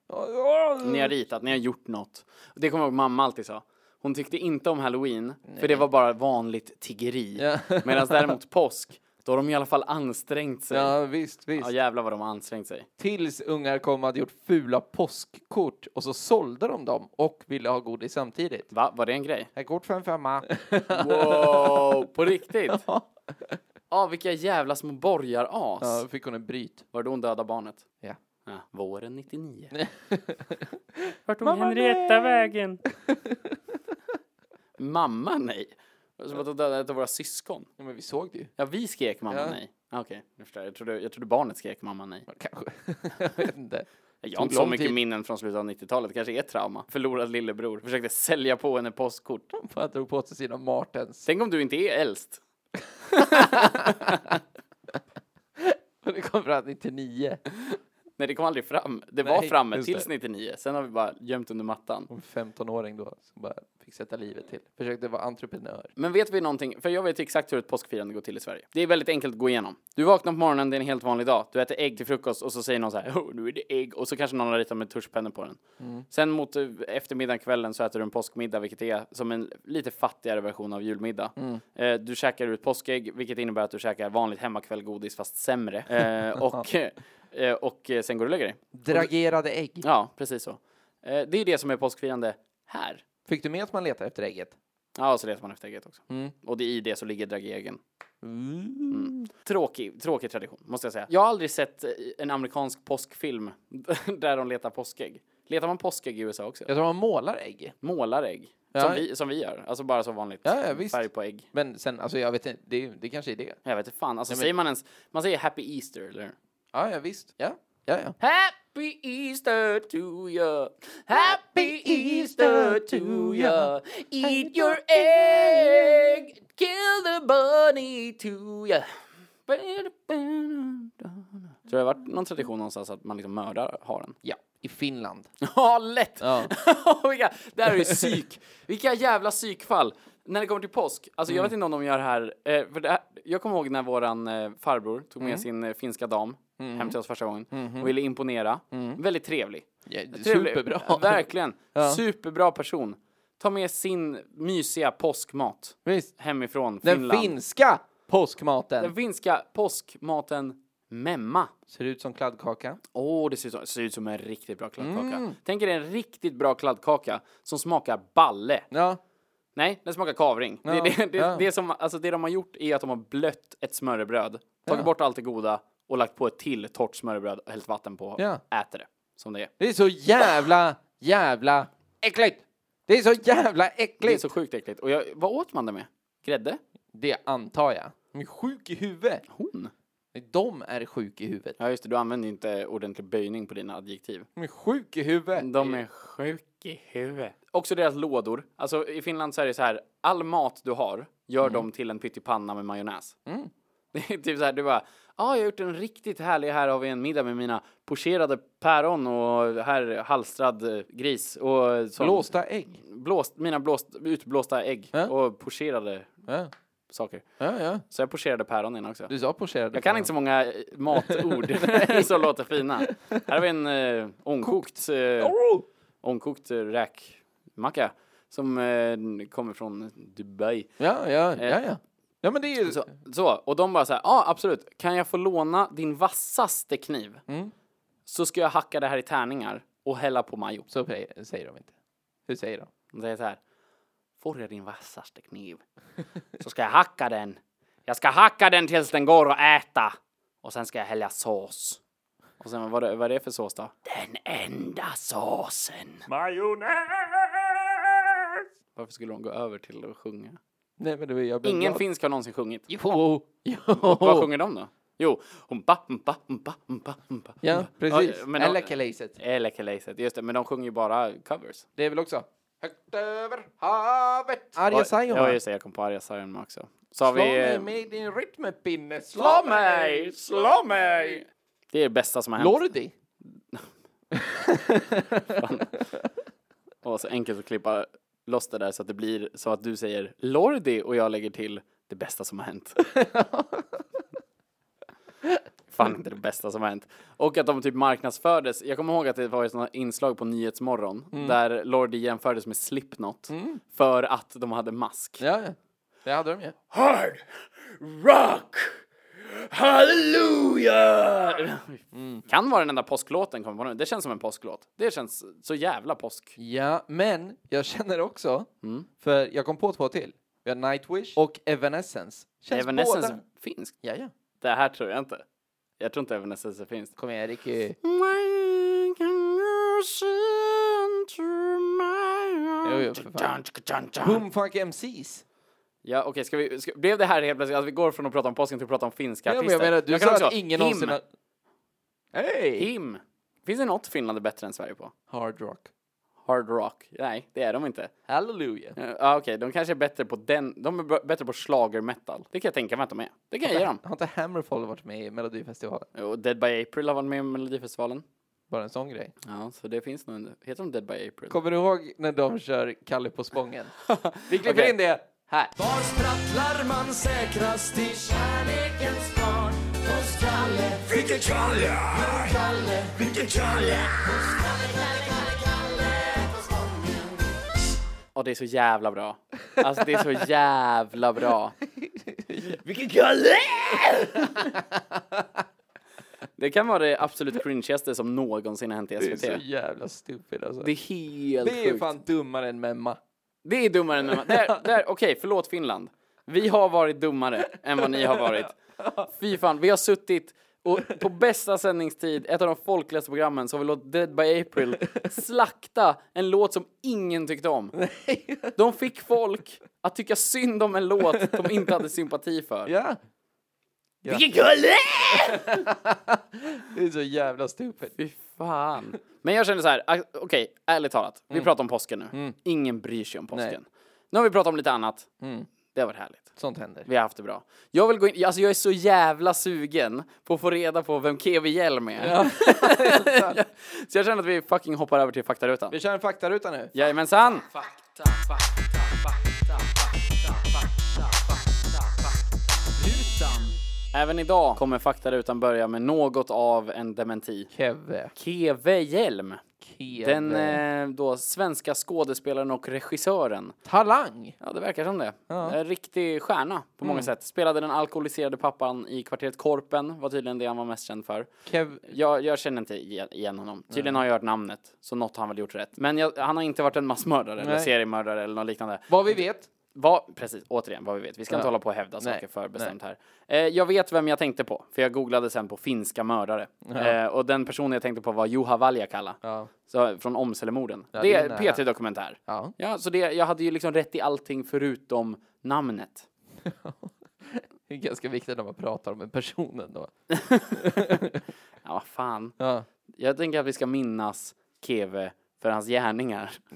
S2: Åh,
S1: Ni har ritat, ni har gjort något. Och Det kommer jag ihåg mamma alltid sa. Hon tyckte inte om halloween, för det var bara vanligt tiggeri.
S2: Ja. (laughs)
S1: Medan däremot påsk, då har de i alla fall ansträngt sig. Ja,
S2: Ja, visst, visst.
S1: jävlar vad de har ansträngt sig.
S2: Tills ungar kom och hade gjort fula påskkort och så sålde de dem och ville ha godis samtidigt.
S1: Va, var det en grej?
S2: Här kort för en femma.
S1: (laughs) Wow, på riktigt?
S2: (laughs)
S1: Ja, ah, vilka jävla små borgaras.
S2: Ja, då fick hon en bryt.
S1: Var det då hon dödade barnet?
S2: Ja.
S1: Ja, våren 99. Vart tog
S2: Mamma,
S1: Henrietta
S2: nej!
S1: vägen? mamma nej? Som att hon dödade ett av våra syskon.
S2: Ja, men vi såg det ju.
S1: Ja, vi skrek mamma
S2: Ja.
S1: nej. Ah, Okej, jag förstår. Jag trodde, jag trodde barnet skrek mamma nej.
S2: Kanske. (laughs) Jag vet inte.
S1: Jag
S2: Tog
S1: har inte så
S2: lång
S1: mycket
S2: tid.
S1: minnen från slutet av 90-talet. Det kanske är trauma. Förlorad lillebror. Försökte sälja på henne postkort.
S2: Bara drog på sig sina Martens.
S1: Tänk om du inte är äldst.
S2: Och det kom fram 99.
S1: Nej, det kom aldrig fram. Det var
S2: Nej,
S1: framme
S2: just
S1: tills
S2: det.
S1: 99. Sen har vi bara gömt under mattan.
S2: Och en 15-åring då som bara fick sätta livet till. Försökte vara entreprenör.
S1: Men vet vi någonting? För jag vet exakt hur ett påskfirande går till i Sverige. Det är väldigt enkelt att gå igenom. Du vaknar på morgonen, det är en helt vanlig dag. Du äter ägg till frukost och så säger någon så här, oh, nu är det ägg. Och så kanske någon har ritat med tuschpennor på den. Sen mot eh, eftermiddagen, kvällen så äter du en påskmiddag, vilket är som en lite fattigare version av julmiddag. Eh, du käkar ut påskägg, vilket innebär att du käkar vanligt hemmakvällgodis, fast sämre. Eh, och, eh, och eh, sen går du och lägger dig.
S2: Dragerade ägg.
S1: Ja, precis så. Eh, det är det som är påskfirande här.
S2: Fick du med att man letar efter ägget?
S1: Ja, och så letar man efter ägget också.
S2: Mm.
S1: Och det är i det så ligger dragegen. Tråkig, tråkig tradition, måste jag säga. Jag har aldrig sett eh, en amerikansk påskfilm (laughs) där de letar påskägg. Letar man påskägg i USA också?
S2: Jag tror man målar ägg.
S1: Målar ägg.
S2: Ja.
S1: Som, vi, som vi gör, alltså bara så vanligt.
S2: Ja, ja, visst.
S1: Färg på ägg.
S2: Men sen, alltså jag vet inte, det, det kanske är det.
S1: Jag vet inte fan, alltså säger man ens, man säger happy easter eller?
S2: Ja, ja visst. Ja, ja, ja.
S1: Happy Easter to you. Happy Easter to you. Eat your egg. Kill the bunny to you. Tror det har varit någon tradition någonstans att man liksom mördar haren?
S2: Ja,
S1: (laughs)
S2: i Finland.
S1: Ja, lätt!
S2: Ja.
S1: (laughs) Vilka, det här är ju psyk. Vilka jävla psykfall. När det kommer till påsk, alltså jag
S2: Mm.
S1: vet inte om de gör det här, eh, för det här jag kommer ihåg när våran eh, farbror tog
S2: Mm.
S1: med sin eh, finska dam hem till oss första gången
S2: Mm-hmm.
S1: och ville imponera. Väldigt trevlig.
S2: Ja,
S1: Trevlig.
S2: Mm. superbra.
S1: Ja, Verkligen.
S2: Ja.
S1: Superbra person. Ta med sin mysiga påskmat
S2: Visst.
S1: hemifrån
S2: Den
S1: Finland.
S2: finska påskmaten.
S1: Den finska påskmaten memma.
S2: Ser ut som kladdkaka.
S1: Åh, det ser ut, som, ser ut som en riktigt bra kladdkaka.
S2: Mm.
S1: Tänk er en riktigt bra kladdkaka som smakar balle.
S2: Ja,
S1: Nej, den smakar kavring. Det,
S2: Ja,
S1: det, det,
S2: ja.
S1: det, som, alltså det de har gjort är att de har blött ett smörrebröd, tagit bort allt det goda och lagt på ett till torrt smörrebröd och hällt vatten på.
S2: Ja.
S1: Äter det. som det är.
S2: Det är så jävla, jävla äckligt! Det är så jävla
S1: Det är
S2: äckligt!
S1: så sjukt äckligt. Och jag, vad åt man det med? Grädde?
S2: Det antar jag. De är sjuk i huvudet.
S1: Hon?
S2: Nej, De är sjuk i huvudet.
S1: Ja just det, du använder ju inte ordentlig böjning på dina adjektiv.
S2: De är sjuk i huvudet.
S1: De är sjuk i huvudet. Också deras lådor. Alltså i Finland så är det så här, all mat du har, gör dem till en pyttipanna med majonnäs.
S2: Mm.
S1: (laughs) Det är typ så här, du bara, ja ah, jag har gjort en riktigt härlig, här har vi en middag med mina pocherade päron och här halstrad eh, gris och sån-
S2: Blåsta ägg.
S1: blåst, mina blåst, utblåsta ägg
S2: Ja.
S1: och pocherade
S2: Ja,
S1: saker.
S2: ja. ja.
S1: Så jag pocherade päron innan också.
S2: Du sa pocherade.
S1: Jag kan inte så många eh, (laughs) matord som låter fina. Här har vi en eh, ångkokt, eh,
S2: Oh!
S1: ångkokt eh, räkmacka som eh, kommer från Dubai.
S2: Ja, ja, ja, ja. Ja, men det är ju...
S1: Eh. Så, så och de bara så här, ja ah, absolut, kan jag få låna din vassaste kniv
S2: Mm.
S1: så ska jag hacka det här i tärningar och hälla på majo.
S2: Så säger säger de inte. Hur säger de?
S1: De säger så här, får jag din vassaste
S2: (laughs)
S1: kniv så ska jag hacka den. Jag ska hacka den tills den går att äta och sen ska jag hälla sås. Och sen vad är vad är det för sås då? Den enda såsen.
S2: Majonnäs!
S1: Varför skulle de gå över till att sjunga?
S2: Nej, men det var jag blev
S1: Ingen
S2: glad.
S1: finsk har någonsin sjungit.
S2: Jo! Jo!
S1: Vad sjunger de då? Jo, humpa, humpa, humpa, humpa, humpa.
S2: Ja,
S1: humpa.
S2: precis.
S1: Mm. Ja, men de-
S2: Eller kalejset.
S1: Eller kalejset, just det. Men de sjunger ju bara covers.
S2: Det är väl också... Högt över havet! Arja
S1: Och- Ja,
S2: Saijonmaa.
S1: just det. Jag kom på Arja Saijonmaa också. Så har
S2: Slå
S1: vi...
S2: mig
S1: eh,
S2: med din rytmepinne,
S1: Slå mig! Slå mig! Det är det bästa som har hänt.
S2: Lordi?
S1: Och så enkelt att klippa loss det där så att det blir så att du säger Lordi och jag lägger till det bästa som har (laughs) hänt. Fan inte det bästa som har hänt. Och att de typ marknadsfördes. Jag kommer ihåg att det var ett sånt här inslag på Nyhetsmorgon där Lordi jämfördes med Slipknot för att de hade mask.
S2: Ja, ja. det hade de ju.
S1: Hard rock! Halleluja! Mm. Kan vara den enda påsklåten kommer på nu. Det känns som en påsklåt. Det känns så jävla påsk.
S2: Ja, men jag känner också,
S1: Mm.
S2: för jag kom på två till. Vi har Nightwish och Evanescence. Känns
S1: Evanescence
S2: båda.
S1: finsk.
S2: Ja, ja.
S1: Det här tror jag inte. Jag tror inte Evanescence är finsk.
S2: Kom igen, Ricky. Jo, jo, för fan. Boomfunk MCs.
S1: Ja, okej, ska vi... Ska, blev det här helt plötsligt att vi går från att prata om påsken till att prata om finska
S2: Ja, men
S1: artister?
S2: jag menar, du
S1: jag kan
S2: sa
S1: också-
S2: att ingen någonsin har... Hej!
S1: Him! Finns det något Finland är bättre än Sverige på?
S2: Hard rock.
S1: Hard rock? Nej, det är de inte.
S2: Hallelujah.
S1: Ja, okej, de kanske är bättre på den... De är bra- bättre på schlagermetal. Det kan jag tänka mig att de är. Det kan jag
S2: (laughs)
S1: ge dem.
S2: Har inte Hammerfall varit med i Melodifestivalen?
S1: Jo, Dead by April har varit med i Melodifestivalen.
S2: Bara en sån grej.
S1: Ja, så det finns nog en... Heter de Dead by April?
S2: Kommer du ihåg när de kör Kalle på (laughs) Spången? Vi klipper
S1: Okej.
S2: in det här.
S3: Var sprattlar man säkrast i kärlekens barn? Hos Kalle,
S4: Vilken Kalle!
S3: Kalle,
S4: Vilken Kalle!
S1: Ja, det är så jävla bra. Alltså, det är så jävla bra.
S4: Vilken Kalle!
S1: Det kan vara det absolut cringeaste som någonsin har hänt i SVT.
S2: Det är så jävla stupid alltså.
S1: Det är helt
S2: Det är
S1: sjukt.
S2: fan dummare än memma.
S1: Det är dummare än vad- där, där, Okej, förlåt Finland. Vi har varit dummare än vad ni har varit. Fy fan, vi har suttit och på bästa sändningstid, ett av de folkligaste programmen, så har vi låtit Dead by April slakta en låt som ingen tyckte om. De fick folk att tycka synd om en låt de inte hade sympati för.
S2: Ja,
S4: Vilken Kalle!
S2: (laughs) det är så jävla stupid.
S1: Fy fan. Men jag känner så här, a- okej, ärligt talat. Vi pratar om påsken nu. Ingen bryr sig om påsken. Nu har vi pratat om lite annat. Det har varit härligt.
S2: Sånt händer.
S1: Vi har haft det bra. Jag vill gå in, alltså jag är så jävla sugen på att få reda på vem Kevin Hjelm är. (laughs) så jag känner att vi fucking hoppar över till faktarutan.
S2: Vi kör en faktaruta nu.
S1: Jajamensan! Även idag kommer faktarutan börja med något av en dementi.
S2: Keve.
S1: Keve Hjelm.
S2: Keve.
S1: Den eh, då svenska skådespelaren och regissören.
S2: Talang!
S1: Ja, det verkar som det. En riktig stjärna på
S2: Mm.
S1: många sätt. Spelade den alkoholiserade pappan i kvarteret Korpen, var tydligen det han var mest känd för.
S2: Kev...
S1: Jag, jag känner inte igen- igen honom. Tydligen har jag hört namnet, så något har han väl gjort rätt. Men jag, han har inte varit en massmördare eller
S2: Nej.
S1: seriemördare eller något liknande.
S2: Vad vi vet.
S1: Vad, precis, återigen vad vi vet. Vi ska inte
S2: Ja.
S1: hålla på och hävda
S2: Nej,
S1: saker förbestämt här. Eh, jag vet vem jag tänkte på, för jag googlade sen på finska mördare. Eh, och den personen jag tänkte på var Juha Valjakalla,
S2: Ja.
S1: så, från Omselemorden.
S2: Ja,
S1: det
S2: det är
S1: är
S2: nära.
S1: P3 Dokumentär.
S2: Ja.
S1: Ja, så det, jag hade ju liksom rätt i allting förutom namnet.
S2: Det är ganska viktigt när man pratar om en person ändå.
S1: Ja, vad fan.
S2: Ja.
S1: Jag tänker att vi ska minnas Keve för hans gärningar.
S2: (laughs)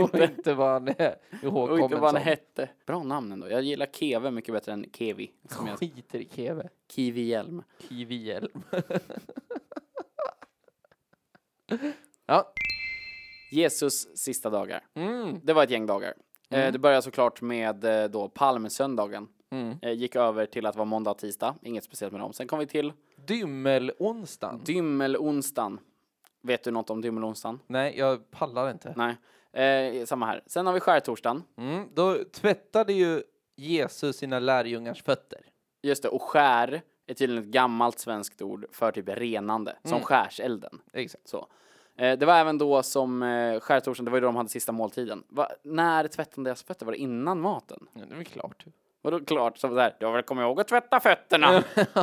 S2: och inte vad han är
S1: Och inte vad han
S2: ihågkommen
S1: hette. Bra namn ändå. Jag gillar Keve mycket bättre än Kevi. Som
S2: (laughs) som.
S1: jag,
S2: Skiter i Keve.
S1: Kiwi Hjelm.
S2: Kivihjälm. (laughs) ja.
S1: Jesus sista dagar.
S2: Mm.
S1: Det var ett gäng dagar. Eh, det började såklart med eh, då palmsöndagen. Eh, gick över till att vara måndag och tisdag. Inget speciellt med dem. Sen kom vi till
S2: Dymmelonsdagen.
S1: dymmelonsdagen. Vet du något om dymmelonsdagen?
S2: Nej, jag pallar inte.
S1: Nej. Eh, samma här. Sen har vi skärtorsdagen.
S2: Mm. Då tvättade ju Jesus sina lärjungars fötter.
S1: Just det, och skär är tydligen ett gammalt svenskt ord för typ renande,
S2: Mm.
S1: som skärselden.
S2: Exakt.
S1: Så. Eh, det var även då som eh, skärtorsdagen, det var ju då de hade sista måltiden. Va, när tvättade deras fötter? Var det innan maten?
S2: Ja, det är väl klart. (laughs)
S1: Var då klart som där, du har väl kommit ihåg att tvätta fötterna?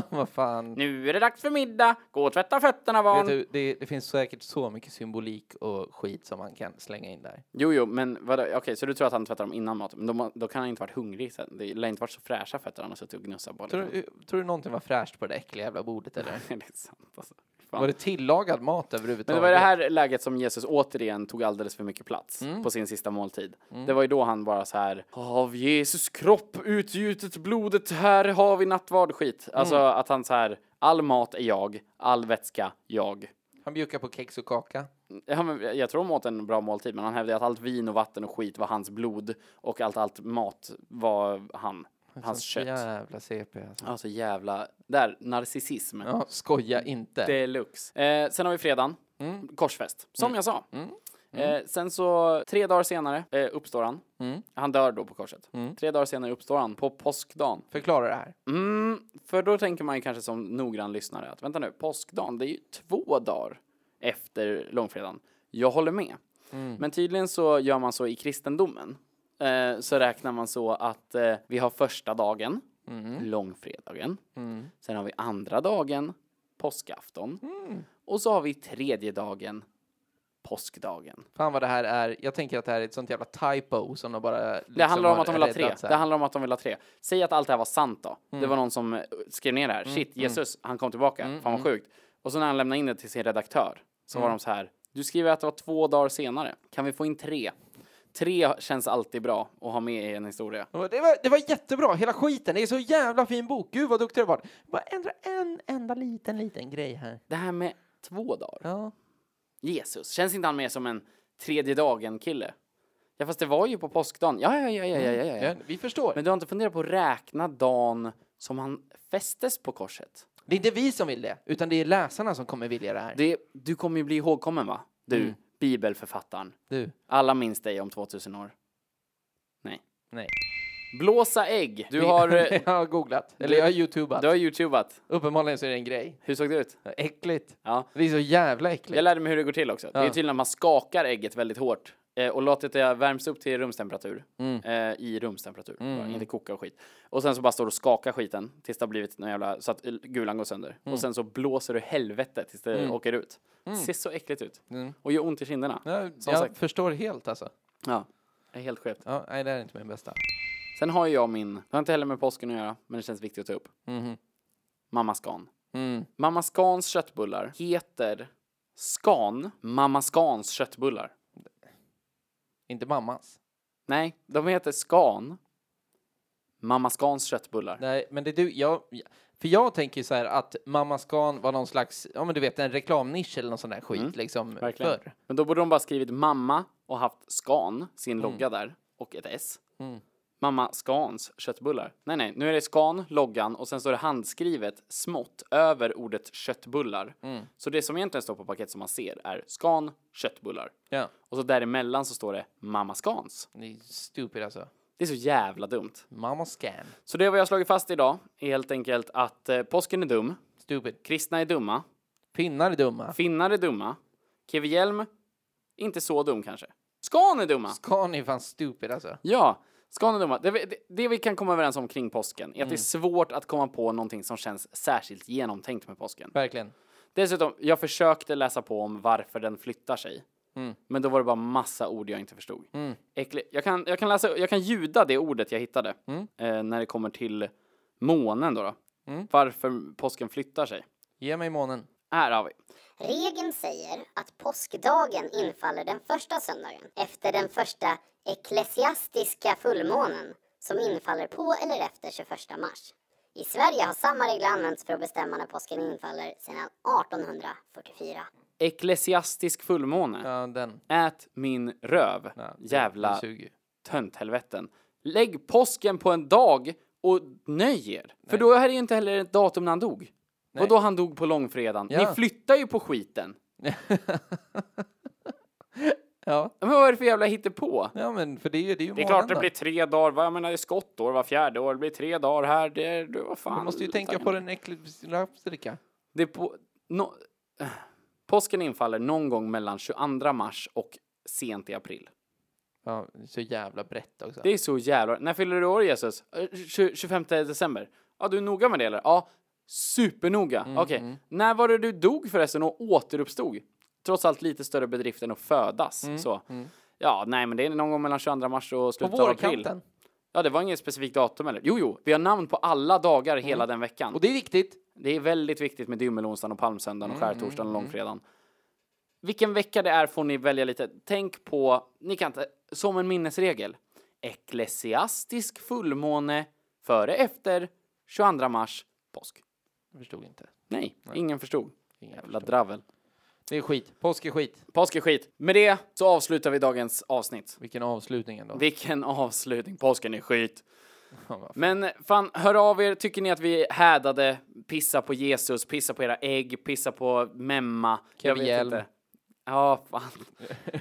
S2: vad fan.
S1: nu är det dags för middag, gå och tvätta fötterna barn!
S2: Vet du, det, det finns säkert så mycket symbolik och skit som man kan slänga in där.
S1: Jo, jo, men vadå? Okej, så du tror att han tvättade dem innan maten, men de, då kan han inte varit hungrig sen. Det lär inte varit så fräscha fötter han har suttit och gnussat på.
S2: Tror,
S1: liksom.
S2: du- tror du någonting var fräscht på det där äckliga jävla bordet eller?
S1: (laughs) det är sant alltså. Fan.
S2: Var det tillagad mat
S1: Men det
S2: överhuvudtaget?
S1: var i det här läget som Jesus återigen tog alldeles för mycket plats
S2: Mm.
S1: på sin sista måltid. Det var ju då han bara så här, av Jesus kropp utgjutet blodet, här har vi nattvard skit.
S2: Mm.
S1: Alltså att han så här, all mat är jag, all vätska jag.
S2: Han bjuckar på kex och kaka.
S1: Ja, men Jag tror de åt en bra måltid, men han hävdade att allt vin och vatten och skit var hans blod och allt, allt mat var han, hans
S2: Sånt
S1: kött.
S2: Jävla CP alltså.
S1: Alltså jävla, där, narcissism.
S2: Ja, skoja inte.
S1: Deluxe. Eh, sen har vi fredagen, korsfäst, som jag sa. Eh, sen så, tre dagar senare eh, uppstår han. Han dör då på korset. Tre dagar senare uppstår han på påskdagen.
S2: Förklara det här.
S1: Mm, för då tänker man ju kanske som noggrann lyssnare att vänta nu, påskdagen, det är ju två dagar efter långfredagen. Jag håller med. Men tydligen så gör man så i kristendomen. Eh, så räknar man så att eh, vi har första dagen, långfredagen. Sen har vi andra dagen, påskafton. Och så har vi tredje dagen, påskdagen.
S2: Fan vad det här är. Jag tänker att det här är ett sånt jävla typo som de bara... Liksom
S1: Det handlar om att de vill ha tre.
S2: räddat så här. Mm.
S1: Det handlar om att de vill ha tre. Säg att allt det här var sant då. Det var någon som eh, skrev ner det här. Shit, Jesus, han kom tillbaka. Fan
S2: mm.
S1: vad sjukt. Och så när han lämnade in det till sin redaktör så var de så här. Du skriver att det var två dagar senare. Kan vi få in tre? Tre känns alltid bra att ha med i en historia.
S2: Och Det var, det var jättebra, hela skiten. Det är så jävla fin bok. Gud vad duktig du var. Bara ändra en enda liten, liten grej här.
S1: Det här med två dagar.
S2: Ja.
S1: Jesus, känns inte han mer som en tredje dagen-kille? Ja, fast det var ju på påskdagen. Ja, ja, ja, ja, ja, ja, ja.
S2: Mm. Ja, vi förstår.
S1: Men du har inte funderat på att räkna dagen som han fästes på korset?
S2: det är inte vi som vill det, utan det är läsarna som kommer vilja det här.
S1: Det, du kommer ju bli ihågkommen va? Du,
S2: Mm.
S1: bibelförfattaren.
S2: Du.
S1: Alla minns dig om 2000 år. Nej.
S2: Nej.
S1: Blåsa ägg. Du har, eh,
S2: (laughs) jag har googlat. Eller jag har youtubat.
S1: du har youtubat.
S2: Uppenbarligen så är det en grej.
S1: Hur såg det ut?
S2: Äckligt.
S1: Ja.
S2: Det är så jävla äckligt.
S1: Jag lärde mig hur det går till också. Det är
S2: Ja.
S1: tydligen att man skakar ägget väldigt hårt eh, och låter det värms upp till rumstemperatur.
S2: Mm.
S1: Eh, I rumstemperatur, bara, inte koka och skit. Och sen så bara står du och skakar skiten tills det har blivit någon jävla, så att eh, gulan går sönder.
S2: Mm.
S1: Och sen så blåser du helvete tills det åker ut. Ser så äckligt ut. Och gör ont i kinderna.
S2: Ja,
S1: Som
S2: Mm. jag
S1: sagt.
S2: förstår helt alltså.
S1: Ja. Det är helt skevt.
S2: Ja, nej, det här är inte min bästa.
S1: Sen har ju jag min, det har inte heller med påsken att göra, men det känns viktigt att ta upp.
S2: Mm-hmm.
S1: Mamma Scan.
S2: Mm.
S1: Mamma Scans köttbullar heter Scan Mamma Scans köttbullar.
S2: Inte mammas.
S1: Nej, de heter Scan Mamma Scans köttbullar.
S2: Nej, men det är du, jag, för jag tänker ju så här att Mamma Scan var någon slags, ja men du vet en reklamnisch eller någon sån där skit liksom
S1: Mm. Verkligen.
S2: förr.
S1: Men då borde de bara skrivit mamma och haft Scan sin logga där, och ett S. Mamma Scans köttbullar. Nej, nej, nu är det Scan, loggan och sen står det handskrivet smått över ordet köttbullar. Så det som egentligen står på paketet som man ser är Scan, köttbullar.
S2: Ja.
S1: Och så däremellan så står det Mamma Scans.
S2: Det är stupid alltså.
S1: Det är så jävla dumt.
S2: Mamma Scan.
S1: Så det var jag slagit fast idag är helt enkelt att eh, påsken är dum,
S2: Stupid.
S1: kristna är dumma,
S2: Pinnar är dumma.
S1: finnar är dumma, Kevin Hjelm, inte så dum kanske. Scan är dumma!
S2: Scan är fan stupid alltså.
S1: Ja, Ska ni döma? Det, vi- det, det vi kan komma överens om kring påsken är att det är svårt att komma på någonting som känns särskilt genomtänkt med påsken.
S2: Verkligen.
S1: Dessutom, jag försökte läsa på om varför den flyttar sig.
S2: Mm.
S1: Men då var det bara massa ord jag inte förstod. Äcklig. Jag, kan, jag, kan läsa, jag kan ljuda det ordet jag hittade
S2: Mm.
S1: eh, när det kommer till månen då. då. Varför påsken flyttar sig.
S2: Ge mig månen.
S1: Här har vi.
S5: Regeln säger att påskdagen infaller den första söndagen efter den första eklesiastiska fullmånen som infaller på eller efter 21 mars. I Sverige har samma regler använts för att bestämma när påsken infaller sedan 1844.
S1: Ecklesiastisk fullmåne.
S2: Ja, den.
S1: Ät min röv.
S2: Ja, den-
S1: Jävla
S2: den suger ju.
S1: tönthelveten. Lägg påsken på en dag och nöj er. För då är det ju inte heller ett datum när han dog. Och då han dog på långfredagen.
S2: Ja.
S1: Ni flyttar ju på skiten.
S2: Ja.
S1: Men vad är det för jävla hittepå?
S2: ja, men för det är ju, det är ju
S1: Det är
S2: månen
S1: klart det
S2: då.
S1: blir tre dagar, vad jag menar det är skottår, var fjärde år, det blir tre dagar här, det är, det, vad fan.
S2: Du måste ju tänka på den eklipsrapsrika.
S1: Det är på, nå- (sighs) eh, påsken infaller någon gång mellan 22 mars och sent i april.
S2: Ja, det är så jävla brett också.
S1: Det är så jävla... När fyller du år Jesus? Eh, tju- 25 december. Ja, du är noga med det eller? Ja, supernoga.
S2: Mm,
S1: Okej. När var det du dog förresten och återuppstod? Trots allt lite större bedrift än att födas. Så. Ja, nej men det är någon gång mellan 22 mars och
S2: Mm, På
S1: slutet av april.
S2: vårkanten.
S1: Ja, det var inget specifikt datum eller? Jo, jo, vi har namn på alla dagar hela den veckan.
S2: Mm. Och det är viktigt.
S1: Det är väldigt viktigt med dymmelonsdagen och palmsöndagen
S2: Mm,
S1: och skärtorsdagen och långfredagen. Vilken vecka det är får ni välja lite. Tänk på, ni kan inte, som en minnesregel. Ecklesiastisk fullmåne före efter 22 mars påsk.
S2: Jag förstod inte.
S1: Nej, ingen förstod. Jävla dravel.
S2: Det är skit. Påsk är skit.
S1: Påsk är skit. Med det så avslutar vi dagens avsnitt.
S2: Vilken avslutning ändå.
S1: Vilken avslutning. Påsken är skit.
S2: Ja, vad fan.
S1: Men fan, hör av er. Tycker ni att vi hädade? Pissa på Jesus, pissa på era ägg, pissa på memma. Jag
S2: Kevin
S1: vet
S2: Hjelm.
S1: inte. Ja, fan.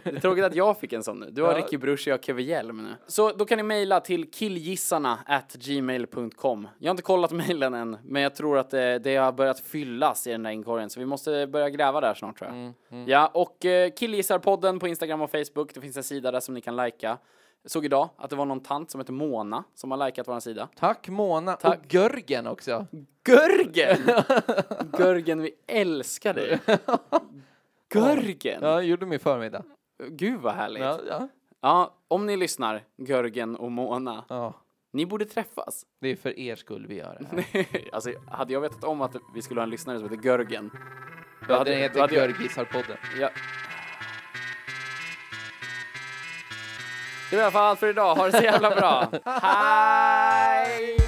S1: Det är tråkigt att jag fick en sån nu. Du har
S2: Ja.
S1: Ricky Bruch och jag har Kevin Hjelm nu. Så då kan ni mejla till killgissarna at gmail.com. Jag har inte kollat mejlen än, men jag tror att eh, det, det har börjat fyllas i den där inkorgen, så vi måste börja gräva där snart tror jag. Ja, och eh, killgissarpodden på Instagram och Facebook. Det finns en sida där som ni kan lajka. Jag Såg idag att det var någon tant som heter Mona som har likat vår sida.
S2: Tack Mona och
S1: Tack.
S2: Görgen också. (laughs)
S1: Görgen! Görgen, vi älskar dig. Görgen!
S2: Ja, gjorde min förmiddag.
S1: Gud vad härligt. Ja.
S2: Ja, ja.
S1: om ni lyssnar, Görgen och Mona,
S2: ja.
S1: ni borde träffas. (laughs)
S2: Det är för er skull vi gör det här.
S1: alltså, hade jag vetat om att vi skulle ha en lyssnare som heter Görgen,
S2: Då hade
S1: hade-
S2: den
S1: då
S2: hetat
S1: hade jag-
S2: Görgisarpodden.
S1: ja.
S2: (laughs)
S1: Det var i alla fall allt för idag. Ha det så jävla bra. Hej!